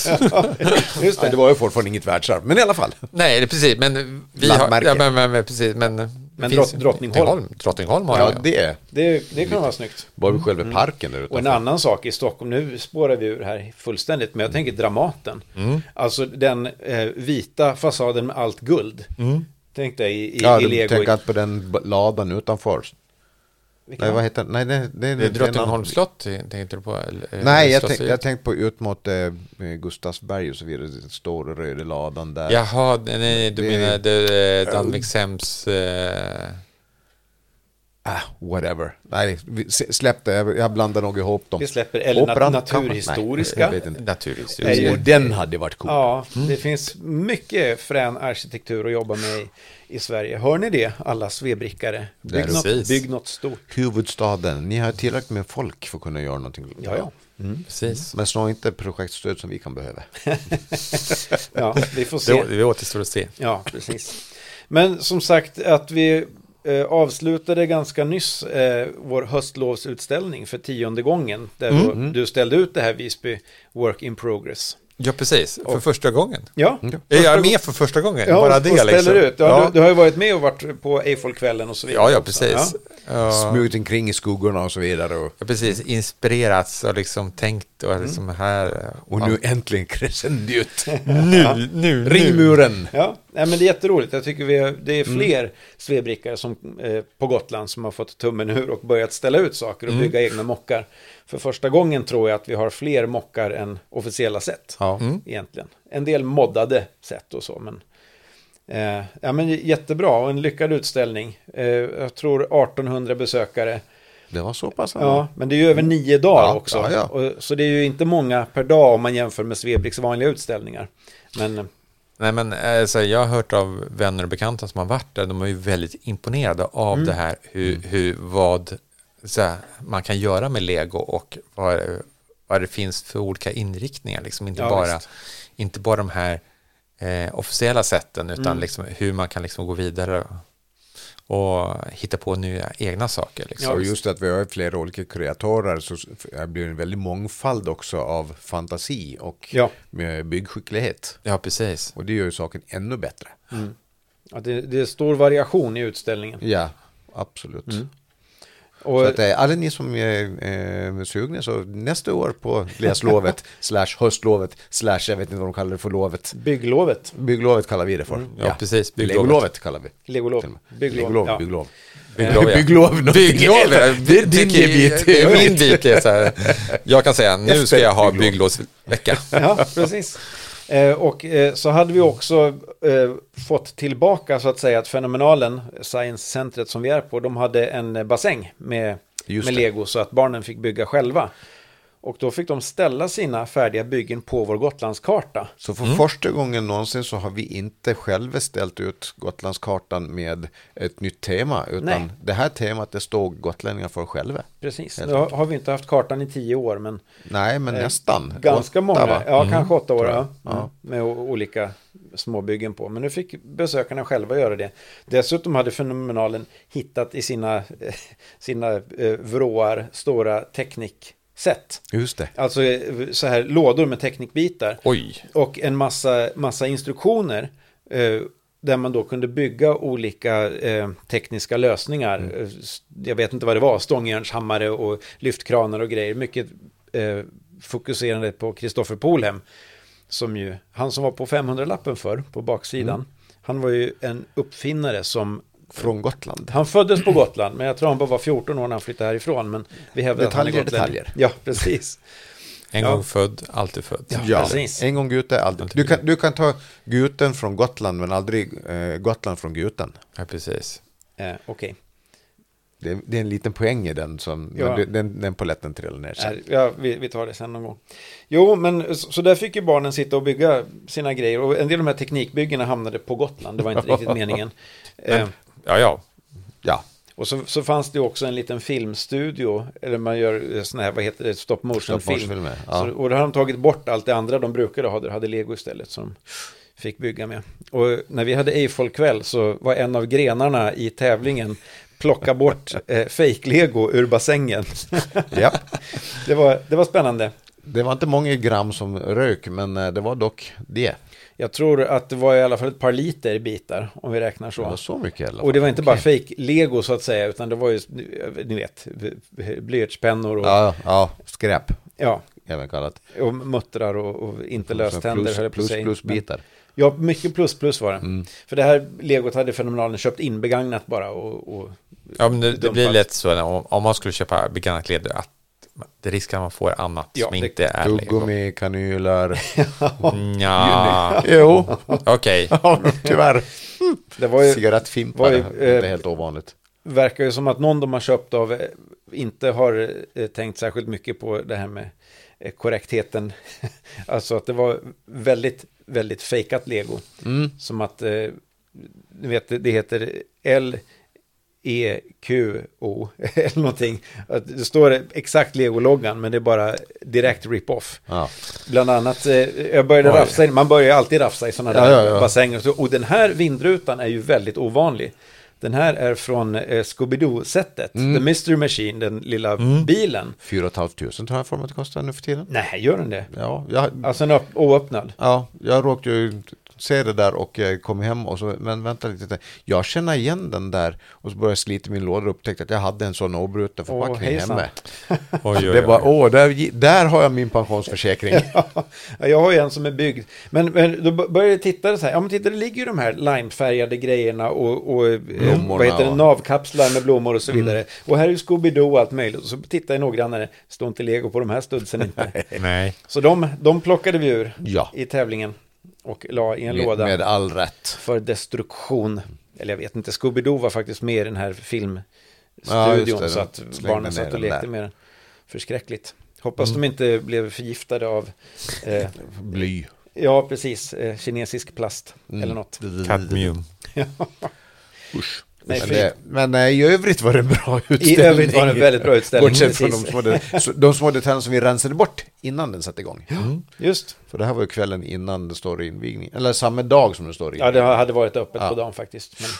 S1: Just
S2: Ja,
S1: det.
S2: det var ju fortfarande inget världsarv, men i alla fall.
S3: Nej, det är precis. Men vi har...
S2: Landmärke.
S3: Ja, men, men, men, precis, men, det
S1: Men
S3: finns-
S1: Drott- Drottningholm.
S3: Drottningholm har
S2: Ja,
S3: jag.
S2: det
S1: Det, det kan vara snyggt.
S2: var väl själva parken där
S1: Mm. Och en
S2: utanför.
S1: annan sak i Stockholm, nu spårar vi ur här fullständigt, men jag tänker Dramaten.
S2: Mm.
S1: Alltså den eh, vita fasaden med allt guld. Tänk dig i, i,
S2: Mm. Ja,
S1: i
S2: du
S1: Lego.
S2: tänker att på den b- ladan utanför.
S1: Vilken-
S2: Nej, vad heter den? Nej, det, det,
S3: Det är
S2: det-
S3: Drottningholms slott, eh, tänkte du på? eller- eh,
S2: Nej, jag
S3: slottsigt.
S2: tänkte, jag tänkte på ut mot eh, Gustavsberg och så vidare. Den stora röda ladan där.
S3: Jaha, nej, du
S2: Det-
S3: menar det- Danvikshems... Eh,
S2: Ah, whatever. Nej, vi- s- släpp det. Jag jag blandar nog ihop dem.
S1: Vi släpper- eller nat-
S2: Operan,
S1: naturhistoriska.
S2: kanske? Nej, jag vet inte. Mm.
S3: naturligtvis.
S1: Nej,
S2: Och den hade varit cool.
S1: Ja, det finns mycket frän arkitektur att jobba med i, i Sverige. Hör ni det, alla svebrickare? Bygg,
S3: Där,
S1: något,
S3: precis.
S1: bygg något stort.
S2: Huvudstaden. Ni har tillräckligt med folk för att kunna göra någonting.
S1: Ja, ja. Mm.
S3: Precis.
S2: Men snarare inte projektstöd som vi kan behöva.
S1: Ja, vi får se.
S3: Det, det återstår att se.
S1: Ja, precis. Men som sagt att vi eh, avslutade ganska nyss eh, vår höstlovsutställning för tionde gången. Där
S3: Mm.
S1: då du ställde ut det här Visby Work in Progress.
S3: Ja, precis. För första gången.
S1: Ja,
S3: Är jag med för första gången?
S1: ja
S3: Mm. Bara
S1: och
S3: det
S1: ställer
S3: liksom.
S1: ut. Ja,
S3: ja.
S1: Du, du har ju varit med och varit på Eiffelkvällen och så vidare.
S3: ja, ja,
S1: också.
S3: precis. Ja.
S2: Smugit omkring i skuggorna och så vidare. Och,
S3: Ja, precis. Inspirerats och liksom tänkt
S1: Mm.
S3: och liksom här.
S2: och nu äntligen crescendiot.
S3: nu, nu,
S2: Ring muren.
S1: Ja, nej, men det är jätteroligt. Jag tycker vi har, det
S3: Mm.
S1: är fler svebrickare som, eh, på Gotland som har fått tummen ur och börjat ställa ut saker
S3: Mm.
S1: och bygga egna mockar. För första gången tror jag att vi har fler mockar än officiella sätt.
S2: Ja.
S1: Egentligen. En del moddade sätt och så. Men, eh, ja, men jättebra och en lyckad utställning. Eh, jag tror 1800 besökare.
S2: Det var så pass.
S1: Ja, men det är ju över nio dagar
S2: Ja,
S1: också.
S2: ja, ja.
S1: Och, så det är ju inte många per dag om man jämför med Svebriks vanliga utställningar. Men eh,
S3: Nej, men alltså, jag har hört av vänner och bekanta som har varit där, de är ju väldigt imponerade av
S2: Mm.
S3: det här, hur, hur, vad så här, man kan göra med lego och vad, vad det finns för olika inriktningar, liksom inte,
S1: Ja,
S3: bara,
S1: visst.
S3: inte bara de
S2: Mm.
S3: här eh, officiella sätten, utan liksom, hur man kan liksom gå vidare och hitta på nya egna saker. Liksom.
S2: och just att vi har flera olika kreatörer så det blir en väldig mångfald också av fantasi och
S1: Ja.
S2: med byggskicklighet.
S3: Ja, precis.
S2: Och det gör ju saken ännu bättre.
S1: Att det, det är stor variation i utställningen.
S2: Ja, absolut.
S1: Och,
S2: Så att, eh, alla ni som är eh, sugna så nästa år på läslovet slash höstlovet slash jag vet inte vad de kallar det för lovet.
S1: Bygglovet.
S2: Bygglovet kallar vi det för.
S3: ja, precis, bygglovet.
S2: Legolovet kallar vi.
S1: Legolov.
S2: till och med.
S1: Bygglov,
S2: Bygglov,
S1: ja.
S2: bygglov.
S3: Bygglov, ja.
S2: Bygglov, någonting helt annat. Det är din gebit.
S3: Det är min bit. det är Så här. Jag kan säga, nu ska jag ha
S2: Efter bygglov.
S3: bygglovsvecka.
S1: Ja, precis. Eh, Och eh, så hade vi också eh, fått tillbaka så att säga att Fenomenalen, Science-centret som vi är på, de hade en eh, bassäng med,
S2: Just
S1: med
S2: det.
S1: lego så att barnen fick bygga själva. Och då fick de ställa sina färdiga byggen på vår Gotlandskarta.
S2: Så för första gången någonsin så har vi inte själva ställt ut Gotlandskartan med ett nytt tema. Utan
S1: Nej.
S2: det här temat det stod gotlänningar för själva.
S1: Precis,
S2: Helt
S1: nu har har vi inte haft kartan i tio år men
S2: Nej, men
S1: Eh,
S2: nästan.
S1: ganska
S2: Åtta,
S1: många,
S2: va? Mm,
S1: ja kanske åtta år,
S2: tror jag.
S1: ja. Mm. med o- olika småbyggen på. Men nu fick besökarna själva göra det. Dessutom hade Fenomenalen hittat i sina, eh, sina eh, vrår stora teknikset.
S2: Just det.
S1: Alltså eh, så här lådor med teknikbitar
S3: Oj,
S1: och en massa, massa instruktioner eh, där man då kunde bygga olika eh, tekniska lösningar.
S2: Mm.
S1: Eh, s- Jag vet inte vad det var, stångjärnshammare och lyftkranar och grejer. Mycket eh, fokuserande på Kristoffer Polhem, som ju, han som var på 500-lappen för på baksidan,
S2: Mm.
S1: han var ju en uppfinnare som
S2: Från Gotland.
S1: han föddes på Gotland, men jag tror han bara var 14 år när han flyttade härifrån. Men vi hävdar att han är
S2: Detaljer,
S1: gotlänning.
S2: detaljer.
S1: Ja, precis.
S3: en
S1: Ja.
S3: gång född, alltid född.
S1: Ja. precis.
S2: En gång Gute, aldrig. Du kan, du kan ta Guten från Gotland, men aldrig eh, Gotland från Guten.
S3: Ja, precis.
S1: Eh, Okej.
S2: Det, det är en liten poäng i den som,
S1: Ja.
S2: men du- den, den polletten trillar ner sen.
S1: Nej, Ja, vi, vi tar det sen någon gång. Jo, men så, så där fick ju barnen sitta och bygga sina grejer. Och en del av de här teknikbyggena hamnade på Gotland. Det var inte riktigt meningen. Eh,
S3: Ja, ja.
S2: Ja,
S1: och så, så fanns det ju också en liten filmstudio. Eller man gör sådana här, vad heter det, stop motion-film.
S2: Stop motion-filmer, ja.
S1: Så- Och då har de tagit bort allt det andra de brukade ha. De hade lego istället som fick bygga med. Och när vi hade Eiffel-kväll så var en av grenarna i tävlingen plocka bort eh, fake-lego ur bassängen.
S2: ja.
S1: det, var, det var spännande.
S2: Det var inte många gram som rök, men eh, det var dock det.
S1: Jag tror att det var i alla fall ett par liter bitar, om vi räknar
S2: Det var
S1: så.
S2: så mycket i alla fall.
S1: Och det var inte bara fake lego så att säga, utan det var ju, ni vet, blyertspennor och, ja.
S2: Ja, ja, skräp, även kallat.
S1: och muttrar och, och inte löständer,
S2: plus,
S1: höll jag på att
S2: plus,
S1: säga.
S2: plus Mm.
S1: Men-
S2: bitar.
S1: Ja, mycket plus plus var det. För det här legot hade fenomenalen köpt in begagnat bara och, och
S3: ja men det, det blir
S1: Dumpat.
S3: lätt så när, om, om man skulle köpa begagnat leder att det riskerar att man får annat
S1: Ja,
S3: som
S1: det-
S3: inte är lego.
S2: Tuggummi, kanyler.
S3: Ja,
S2: jo,
S3: okej.
S2: tyvärr.
S1: det var ju,
S2: Cigarettfimpar,
S1: var ju,
S2: det är
S1: eh,
S2: helt ovanligt.
S1: verkar ju som att någon de har köpt av eh, inte har eh, tänkt särskilt mycket på det här med eh, korrektheten. alltså att det var väldigt, väldigt fejkat lego.
S2: Mm.
S1: Som att, eh, ni vet, det- det heter L, E, Q, O eller någonting. Att det står exakt lego-loggan men det är bara direkt rip-off.
S2: Ja.
S1: Bland annat, eh, jag började rafsa, in- man börjar ju alltid rafsa i sådana
S2: Ja,
S1: där
S2: ja, ja.
S1: bassänger. och så. Och den här vindrutan är ju väldigt ovanlig. Den här är från eh, Scooby-Doo-sättet,
S2: Mm.
S1: The Mystery Machine, den lilla bilen.
S2: 4 500 tror jag för mig att det kostar nu för tiden.
S1: Nej, gör den det?
S2: Ja, jag,
S1: Alltså en öpp- oöppnad.
S2: ja, jag råkade ju se det där och eh, kom hem och så, men vänta lite. Jag känner igen den där och så började jag slita min låda och upptäckte att jag hade en sån obruten
S1: Åh,
S2: förpackning
S1: hejsan.
S2: hemma.
S3: Oj, oj, oj.
S2: Det var, åh, där, gi- där har jag min pensionsförsäkring.
S1: Ja, jag har ju en som är byggd. Men, men då b- började jag titta så här. Ja, men titta, det ligger ju de här limefärgade grejerna och, och eh,
S2: Blommorna
S1: vad heter det,
S2: och- Mm.
S1: navkapslar med blommor och så vidare. Och här är ju Scooby-Doo och allt möjligt. Och så tittar jag noggrannare. Står inte lego på de här studsen inte.
S3: Nej.
S1: Så de, de plockade vi ur
S2: Ja.
S1: i tävlingen och la i en
S2: Med,
S1: låda
S2: med all rätt.
S1: för destruktion. Eller jag vet inte, Scooby-Doo var faktiskt med i den här
S2: Ja, just
S1: filmstudion
S2: det,
S1: så att
S2: de slängde ner
S1: barnen satt och
S2: den
S1: lekte
S2: där. Mm.
S1: med den. Förskräckligt. Hoppas de inte blev förgiftade av, eh,
S2: Bly. Mm.
S1: ja precis, eh, kinesisk plast eller något. Mm.
S3: Kadmium.
S2: Usch.
S1: Nej,
S2: men,
S1: fy.
S2: det, men eh, i övrigt var det en bra utställning.
S1: övrigt var det en väldigt bra utställning,
S2: Bortsett från de
S1: precis.
S2: små, det- så- de små detaljerna som vi rensade bort innan den satte igång. Mm.
S1: Just,
S2: För det här var ju kvällen innan det står i invigning. Eller samma dag som det står i
S1: ja det hade varit öppet
S2: Ja.
S1: på dagen faktiskt. Men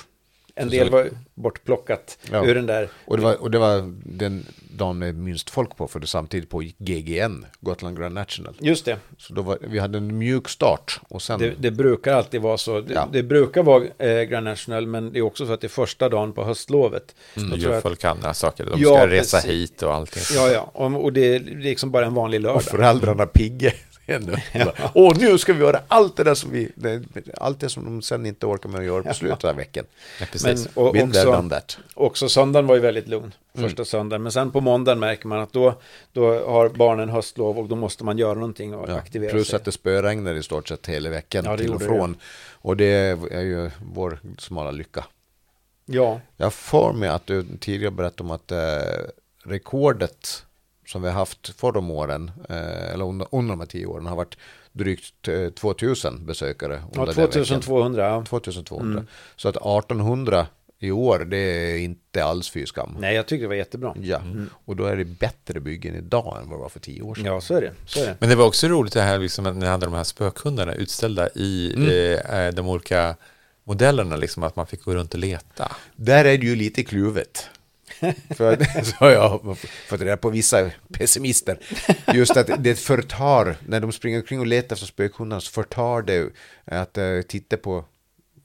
S1: En
S2: Så-
S1: del var bortplockat
S2: Ja.
S1: ur den där.
S2: Och det, var, och det var den dagen med minst folk på, för det samtidigt pågick GGN, Gotland Grand National.
S1: Just det,
S2: Så då var, vi hade en mjuk start och sen...
S1: det, det brukar alltid vara så. Det,
S2: Mm. Ja.
S1: det brukar vara eh, Grand National, men det är också så att det är första dagen på höstlovet.
S2: Mm,
S1: Då tror
S3: De
S1: jag
S3: gör
S1: att-
S3: folk andra saker. De
S1: Ja,
S3: ska resa
S1: precis.
S3: hit och allting.
S1: Ja, ja, och, och det är liksom bara en vanlig lördag.
S2: och föräldrarna pigga. Ännu. Bara, Åh, nu ska vi göra allt det där som vi... det- Allt det som de sen inte orkar med att göra på slutet av veckan.
S3: Ja,
S1: Men,
S3: precis.
S1: och
S2: Been there,
S1: också,
S2: done that.
S1: också söndagen var ju väldigt lugn,
S2: Mm.
S1: första söndagen. Men sen på måndagen märker man att då, då har barnen höstlov och då måste man göra någonting och aktivera
S2: Plus
S1: sig.
S2: att det spöregnar i stort sett hela veckan
S1: Ja, det
S2: till och
S1: gjorde
S2: från. Och det är ju vår smala lycka.
S1: Ja,
S2: Jag har för mig att du tidigare berättade om att eh, rekordet som vi har haft för de åren, eh, eller under, under de här tio åren, har varit drygt eh, 2000 besökare.
S1: ja Mm.
S2: under den veckan.
S1: 2200. ja.
S2: 2200. Så att 1800 i år, det är inte alls fy skam.
S1: Nej, Mm. jag tyckte det var jättebra.
S2: Ja, och då är det bättre byggen idag än vad det var för tio år sedan.
S1: Ja, så är det. Så är det.
S3: Men det var också roligt det här liksom, när ni hade de här spökhundarna utställda i
S1: Mm.
S3: eh, eh, de olika modellerna, liksom, att man fick gå runt och leta.
S2: Där är det ju lite kluvet. för, så har jag fått reda på vissa pessimister. Just att det förtar, när de springer omkring och letar efter spökhundarna så förtar det att eh, titta på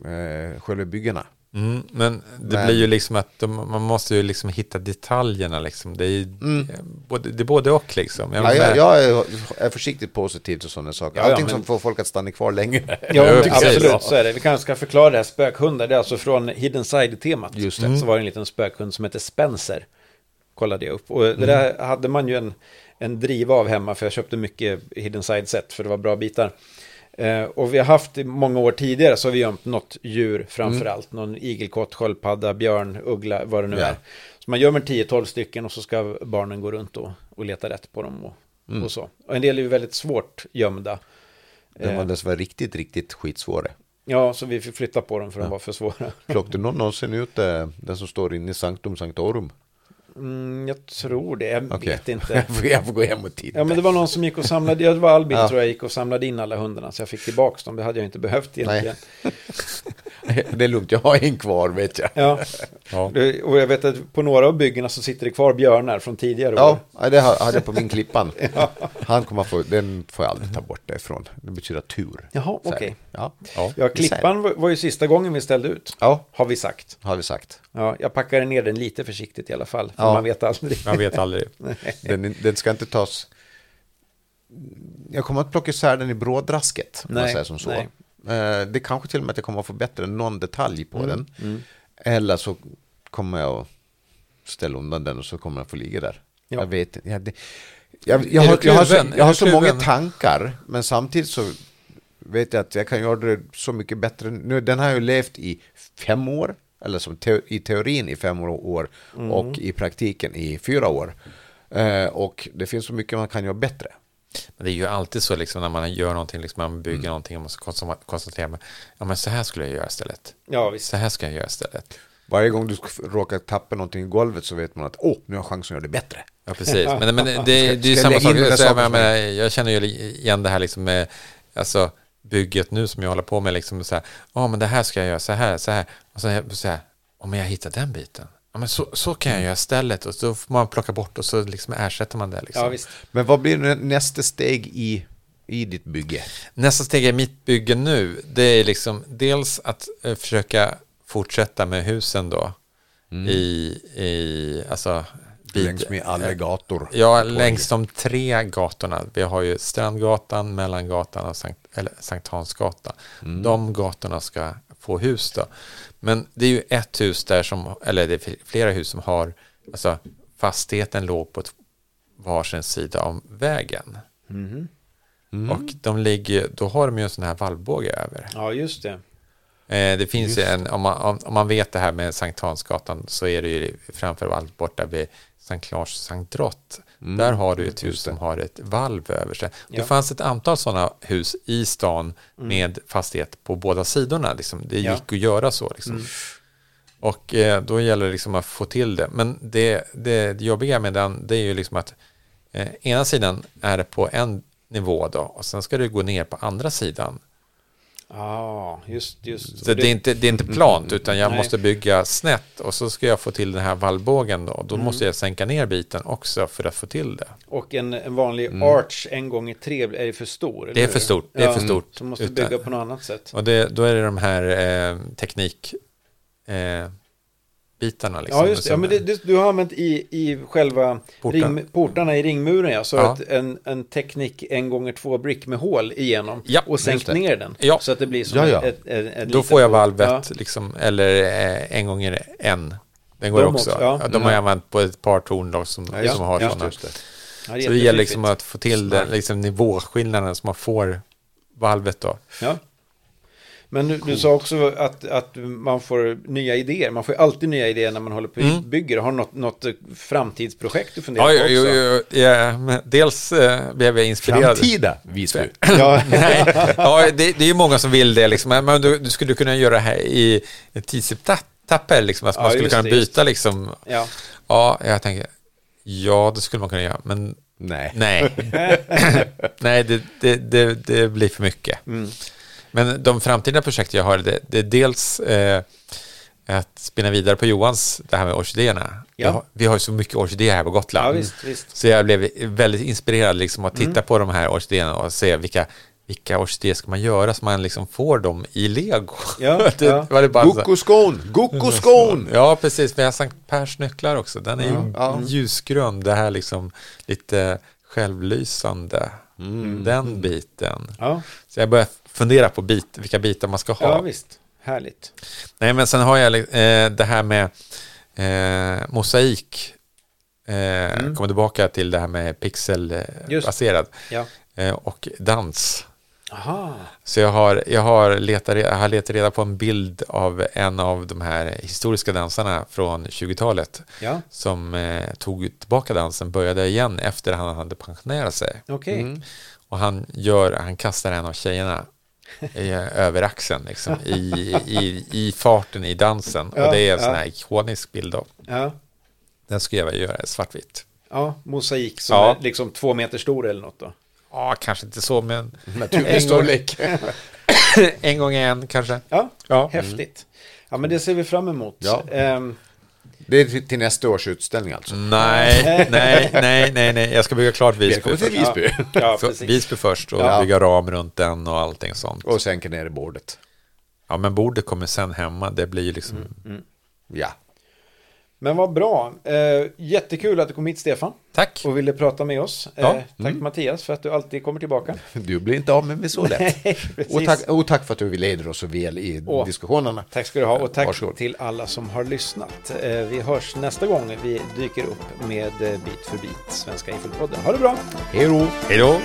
S2: eh, själva byggena.
S3: Mm, men det
S2: Men-
S3: blir ju liksom att de, man måste ju liksom hitta detaljerna liksom. Det är, ju- eh, både, det är både och liksom. Jag
S2: Mm. Ja,
S3: menar-
S2: jag, jag är- är försiktigt positiv till sådana saker.
S1: Ja, ja,
S2: Allting
S1: men-
S2: som får folk att stanna kvar länge.
S1: Ja,
S3: Ja,
S1: men
S3: precis.
S1: absolut, så är det. Vi kanske ska förklara det här spökhundar. Det är alltså från Hidden Side-temat. Mm.
S2: Just det.
S1: Så var det en liten spökhund som hette Spencer. Kollade jag upp. Och det där
S2: Mm.
S1: hade man ju en, en driva av hemma, för jag köpte mycket Hidden Side-set, för det var bra bitar. Eh, och vi har haft i många år tidigare så har vi gömt något djur framför allt. Någon igelkott, sköldpadda, björn, uggla, vad det nu
S2: Mm. Ja.
S1: är. Så man gömmer 10-12 stycken och så ska barnen gå runt och, och leta rätt på dem och,
S2: Mm.
S1: och så. Och en del är ju väldigt svårt gömda.
S2: De var dessvärre riktigt, riktigt skitsvåra.
S1: Ja, så vi fick flytta på dem för de var för svåra.
S2: Plockade någon någonsin ut eh, den som står inne i Sanctum Sanctorum?
S1: Mm, jag tror det, jag
S2: Okej.
S1: vet inte.
S2: Jag får- jag får gå hem och titta.
S1: Ja, men det var någon som gick och samlade, ja, det var Albin
S2: Ja.
S1: tror jag, gick och samlade in alla hundarna så jag fick tillbaka dem, det hade jag inte behövt egentligen.
S2: Det är lugnt, jag har en kvar vet jag.
S1: Ja.
S3: Ja.
S1: Det- Och jag vet att på några av byggena så sitter det kvar björnar från tidigare år.
S2: Ja, ja, det har- hade jag på min klippan. Han kommer få, den får jag aldrig ta bort därifrån. Det betyder tur.
S1: Jaha,
S2: Så här.
S1: okej.
S2: Ja.
S3: Ja.
S1: Ja, klippan var, var ju sista gången vi ställde ut,
S2: ja,
S1: har vi sagt.
S2: har vi sagt.
S1: Ja, jag packade ner den lite försiktigt i alla fall, för
S2: Ja.
S1: man vet aldrig.
S3: Jag vet aldrig.
S2: Den, den ska inte tas... Jag kommer att plocka isär den i brådrasket, om man
S1: Nej,
S2: säger som så.
S1: nej.
S2: Eh, Det kanske till och med att jag kommer att förbättra någon detalj
S1: Mm,
S2: på den. Eller så kommer jag att ställa undan den och så kommer den få ligga där.
S1: Ja.
S2: Jag vet inte. Jag, det- jag, jag,
S3: Är
S2: har,
S3: du
S2: jag har så,
S3: kluven? Är
S2: jag har
S3: du
S2: så många
S3: kluven?
S2: tankar, men samtidigt så vet jag att jag kan göra det så mycket bättre. Nu, den har jag ju levt i fem år, eller som teo, i teorin i fem år- år
S3: Mm.
S2: och i praktiken i fyra år. Eh, och det finns så mycket man kan göra bättre.
S3: Men det är ju alltid så liksom, när man gör någonting, liksom, man bygger
S2: Mm.
S3: någonting, och man ska konsom- koncentrera mig. Ja, men så här skulle jag göra istället.
S1: Ja,
S2: Mm.
S1: visst.
S3: Så här ska jag göra istället.
S2: Varje gång du sk- råkar tappa någonting i golvet så vet man att åh, nu har jag chansen att göra det bättre.
S3: Ja, precis. Men, men det, det,
S2: ska
S3: är ju
S2: jag
S3: samma
S2: lägga in den här
S3: sak. Så jag,
S2: saken
S3: jag,
S2: för
S3: menar, jag känner ju igen det här liksom med alltså, bygget nu som jag håller på med. Liksom, så här, ja men det här ska jag göra, så här, så här. Och sen så här, oh, men jag hittar den biten. Ja, men så, så
S2: Mm.
S3: kan jag göra istället. Och så får man plocka bort och så liksom ersätter man det. Liksom.
S1: Ja, visst.
S2: Men vad blir nä- nästa steg i, i ditt bygge?
S3: Nästa steg i mitt bygge nu, det är liksom dels att eh, försöka fortsätta med husen då. I, i, alltså, vid-
S2: Längs med alla gator.
S3: eh, Ja, längs de tre gatorna. Vi har ju Strandgatan, Mellangatan och Sankt, eller Sankt Hansgatan. De gatorna ska få hus då. Men det är ju ett hus där som, eller det är flera hus som har, alltså fastigheten låg på ett- varsin sida om vägen. Och de ligger, då har de ju en sån här vallbåge över.
S1: Ja, just det.
S3: Eh, det finns ju en, om man, om, om man vet det här med Sankt Hansgatan så är det ju framför allt borta vid Sankt Lars Sankt Drott. Där har du ett hus som har ett valv över sig. Det
S1: Mm. Ja. Mm.
S3: fanns ett antal sådana hus i stan med fastighet på båda sidorna. Liksom. Det
S1: Ja. Mm.
S3: gick att göra så. Liksom. Och eh, då gäller det liksom att få till det. Men det, det, det jobbiga med den, det är ju liksom att eh, ena sidan är det på en nivå då och sen ska du gå ner på andra sidan.
S1: Ja, just, just.
S3: Så det, är inte, det är inte plant utan jag
S1: Mm. Nej.
S3: måste bygga snett och så ska jag få till den här vallbågen då.
S1: Mm.
S3: Då måste jag sänka ner biten också för att få till det.
S1: Och en, en vanlig arch en gång i tre är för stor.
S3: Mm. Det är
S1: eller
S3: för
S1: hur?
S3: stort, det är för stort.
S1: Så måste
S3: Utan-
S1: bygga på något annat sätt.
S3: Och det, då är det de här eh, teknik eh, bitarna liksom.
S1: Ja, just det. Ja,
S3: Som-
S1: men det, det, du har använt i, i själva
S3: Porten.
S1: ring, portarna i ringmuren. Jag sa
S3: Ja.
S1: att en, en teknik en gånger två brick med hål igenom
S3: Ja,
S1: och sänkt
S2: just det.
S1: ner den.
S3: Ja.
S1: Så att det blir som
S2: Ja, ja.
S1: Ett, ett, ett, ett
S3: Då
S1: litet
S3: får jag
S1: hål.
S3: valvet, liksom, eller eh, en gånger en. Den går
S1: De
S3: också.
S1: också, ja.
S3: ja. de har jag använt på ett par torn då, som,
S1: Ja,
S3: som har
S1: ja.
S3: sådana.
S1: Just det. Ja,
S3: Så det gäller
S1: jättefint.
S3: liksom att få till den, liksom nivåskillnaden som man får valvet då.
S1: Ja. Men du, du sa också att, att man får nya idéer. Man får ju alltid nya idéer när man håller på och bygger. Har du något, något framtidsprojekt du funderar
S3: Mm. Ja,
S1: på
S3: jo,
S1: också?
S3: jo, jo, ja, men dels eh, blev jag inspirerad.
S2: Framtida Visby.
S1: Ja.
S3: Nej, ja, det, det är ju många som vill det, liksom. men du, du skulle kunna göra det här i tidsetapper, liksom, att
S1: Ja,
S3: man skulle
S1: just
S3: kunna
S1: det, just
S3: byta. Liksom.
S1: Ja.
S3: Ja, jag tänker, ja, det skulle man kunna göra, men
S2: Nej.
S3: nej. nej, det, det, det, det blir för mycket.
S1: Mm.
S3: Men de framtida projekt jag har, det, det är dels eh, att spinna vidare på Johans, det här med orkidéerna.
S1: Ja.
S3: Jag har- Vi har ju så mycket orkidéer här på Gotland.
S1: Ja, visst, visst. Mm.
S3: Så jag blev väldigt inspirerad liksom att titta på de här orkidéerna och se vilka, vilka orkidéer ska man göra så man liksom får dem i lego.
S1: Ja,
S3: det,
S1: ja.
S3: Var det bara så-
S2: Gokkoskon!
S1: Mm.
S2: Gokkoskon!
S3: Ja, precis. Vi har Sankt Pers nycklar också. Den är ju
S2: Ja.
S3: ljusgrön. Det här liksom lite självlysande. Den biten.
S1: Ja.
S3: Så jag börjar fundera på bit, vilka bitar man ska ha.
S1: ja, visst. Härligt.
S3: Nej, men sen har jag eh, det här med eh, mosaik. Eh, Kommer tillbaka till det här med
S1: Just.
S3: pixelbaserad.
S1: Ja.
S3: Eh, och dans.
S1: Aha.
S3: Så jag har, jag har, letat, re- jag har letat reda på en bild av en av de här historiska dansarna från 20-talet
S1: Ja,
S3: som eh, tog tillbaka dansen, började igen efter han hade pensionerat sig.
S1: okej.
S2: Mm.
S3: Och han, gör, han kastar en av tjejerna i, eh, över axeln liksom, i, i, i farten i dansen.
S1: Ja,
S3: och det är en
S1: ja.
S3: sån här ikonisk bild då.
S1: Ja.
S3: Den skulle jag vilja göra svartvitt.
S1: ja, mosaik som
S3: Ja.
S1: är liksom två meter stor eller något då.
S3: Ja, kanske inte så, men
S2: Naturlig storlek.
S3: en gång en kanske.
S1: Ja,
S3: Ja.
S1: häftigt. Ja, men det ser vi fram emot.
S2: Ja.
S1: Ehm,
S2: Det är till till nästa års utställning
S1: Mm.
S2: alltså.
S3: Nej, nej, nej, nej, nej, jag ska bygga klart Visby.
S2: Välkommen till
S3: först.
S2: Visby.
S1: ja,
S3: För-
S1: precis.
S3: Visby först och
S2: Ja.
S3: bygga ram runt den och allting sånt.
S2: Och sänker ner i bordet.
S3: Ja, men bordet kommer sen hemma. Det blir ju liksom...
S1: Mm,
S2: Ja.
S1: Men vad bra. Eh, jättekul att du kom hit, Stefan,
S3: Tack!
S1: och ville prata med oss.
S3: Ja.
S1: Eh, tack, Mattias, för att du alltid kommer tillbaka.
S2: Du blir inte av med mig så lätt.
S1: Precis.
S2: Och tack, och tack för att du leder oss så väl i
S1: Åh.
S2: diskussionerna.
S1: Tack ska du ha och tack
S2: Varsågod.
S1: till alla som har lyssnat. Eh, Vi hörs nästa gång vi dyker upp med eh, Bit för bit, Svenska Infopodden. Ha det bra!
S2: Hej då!
S3: Hej då!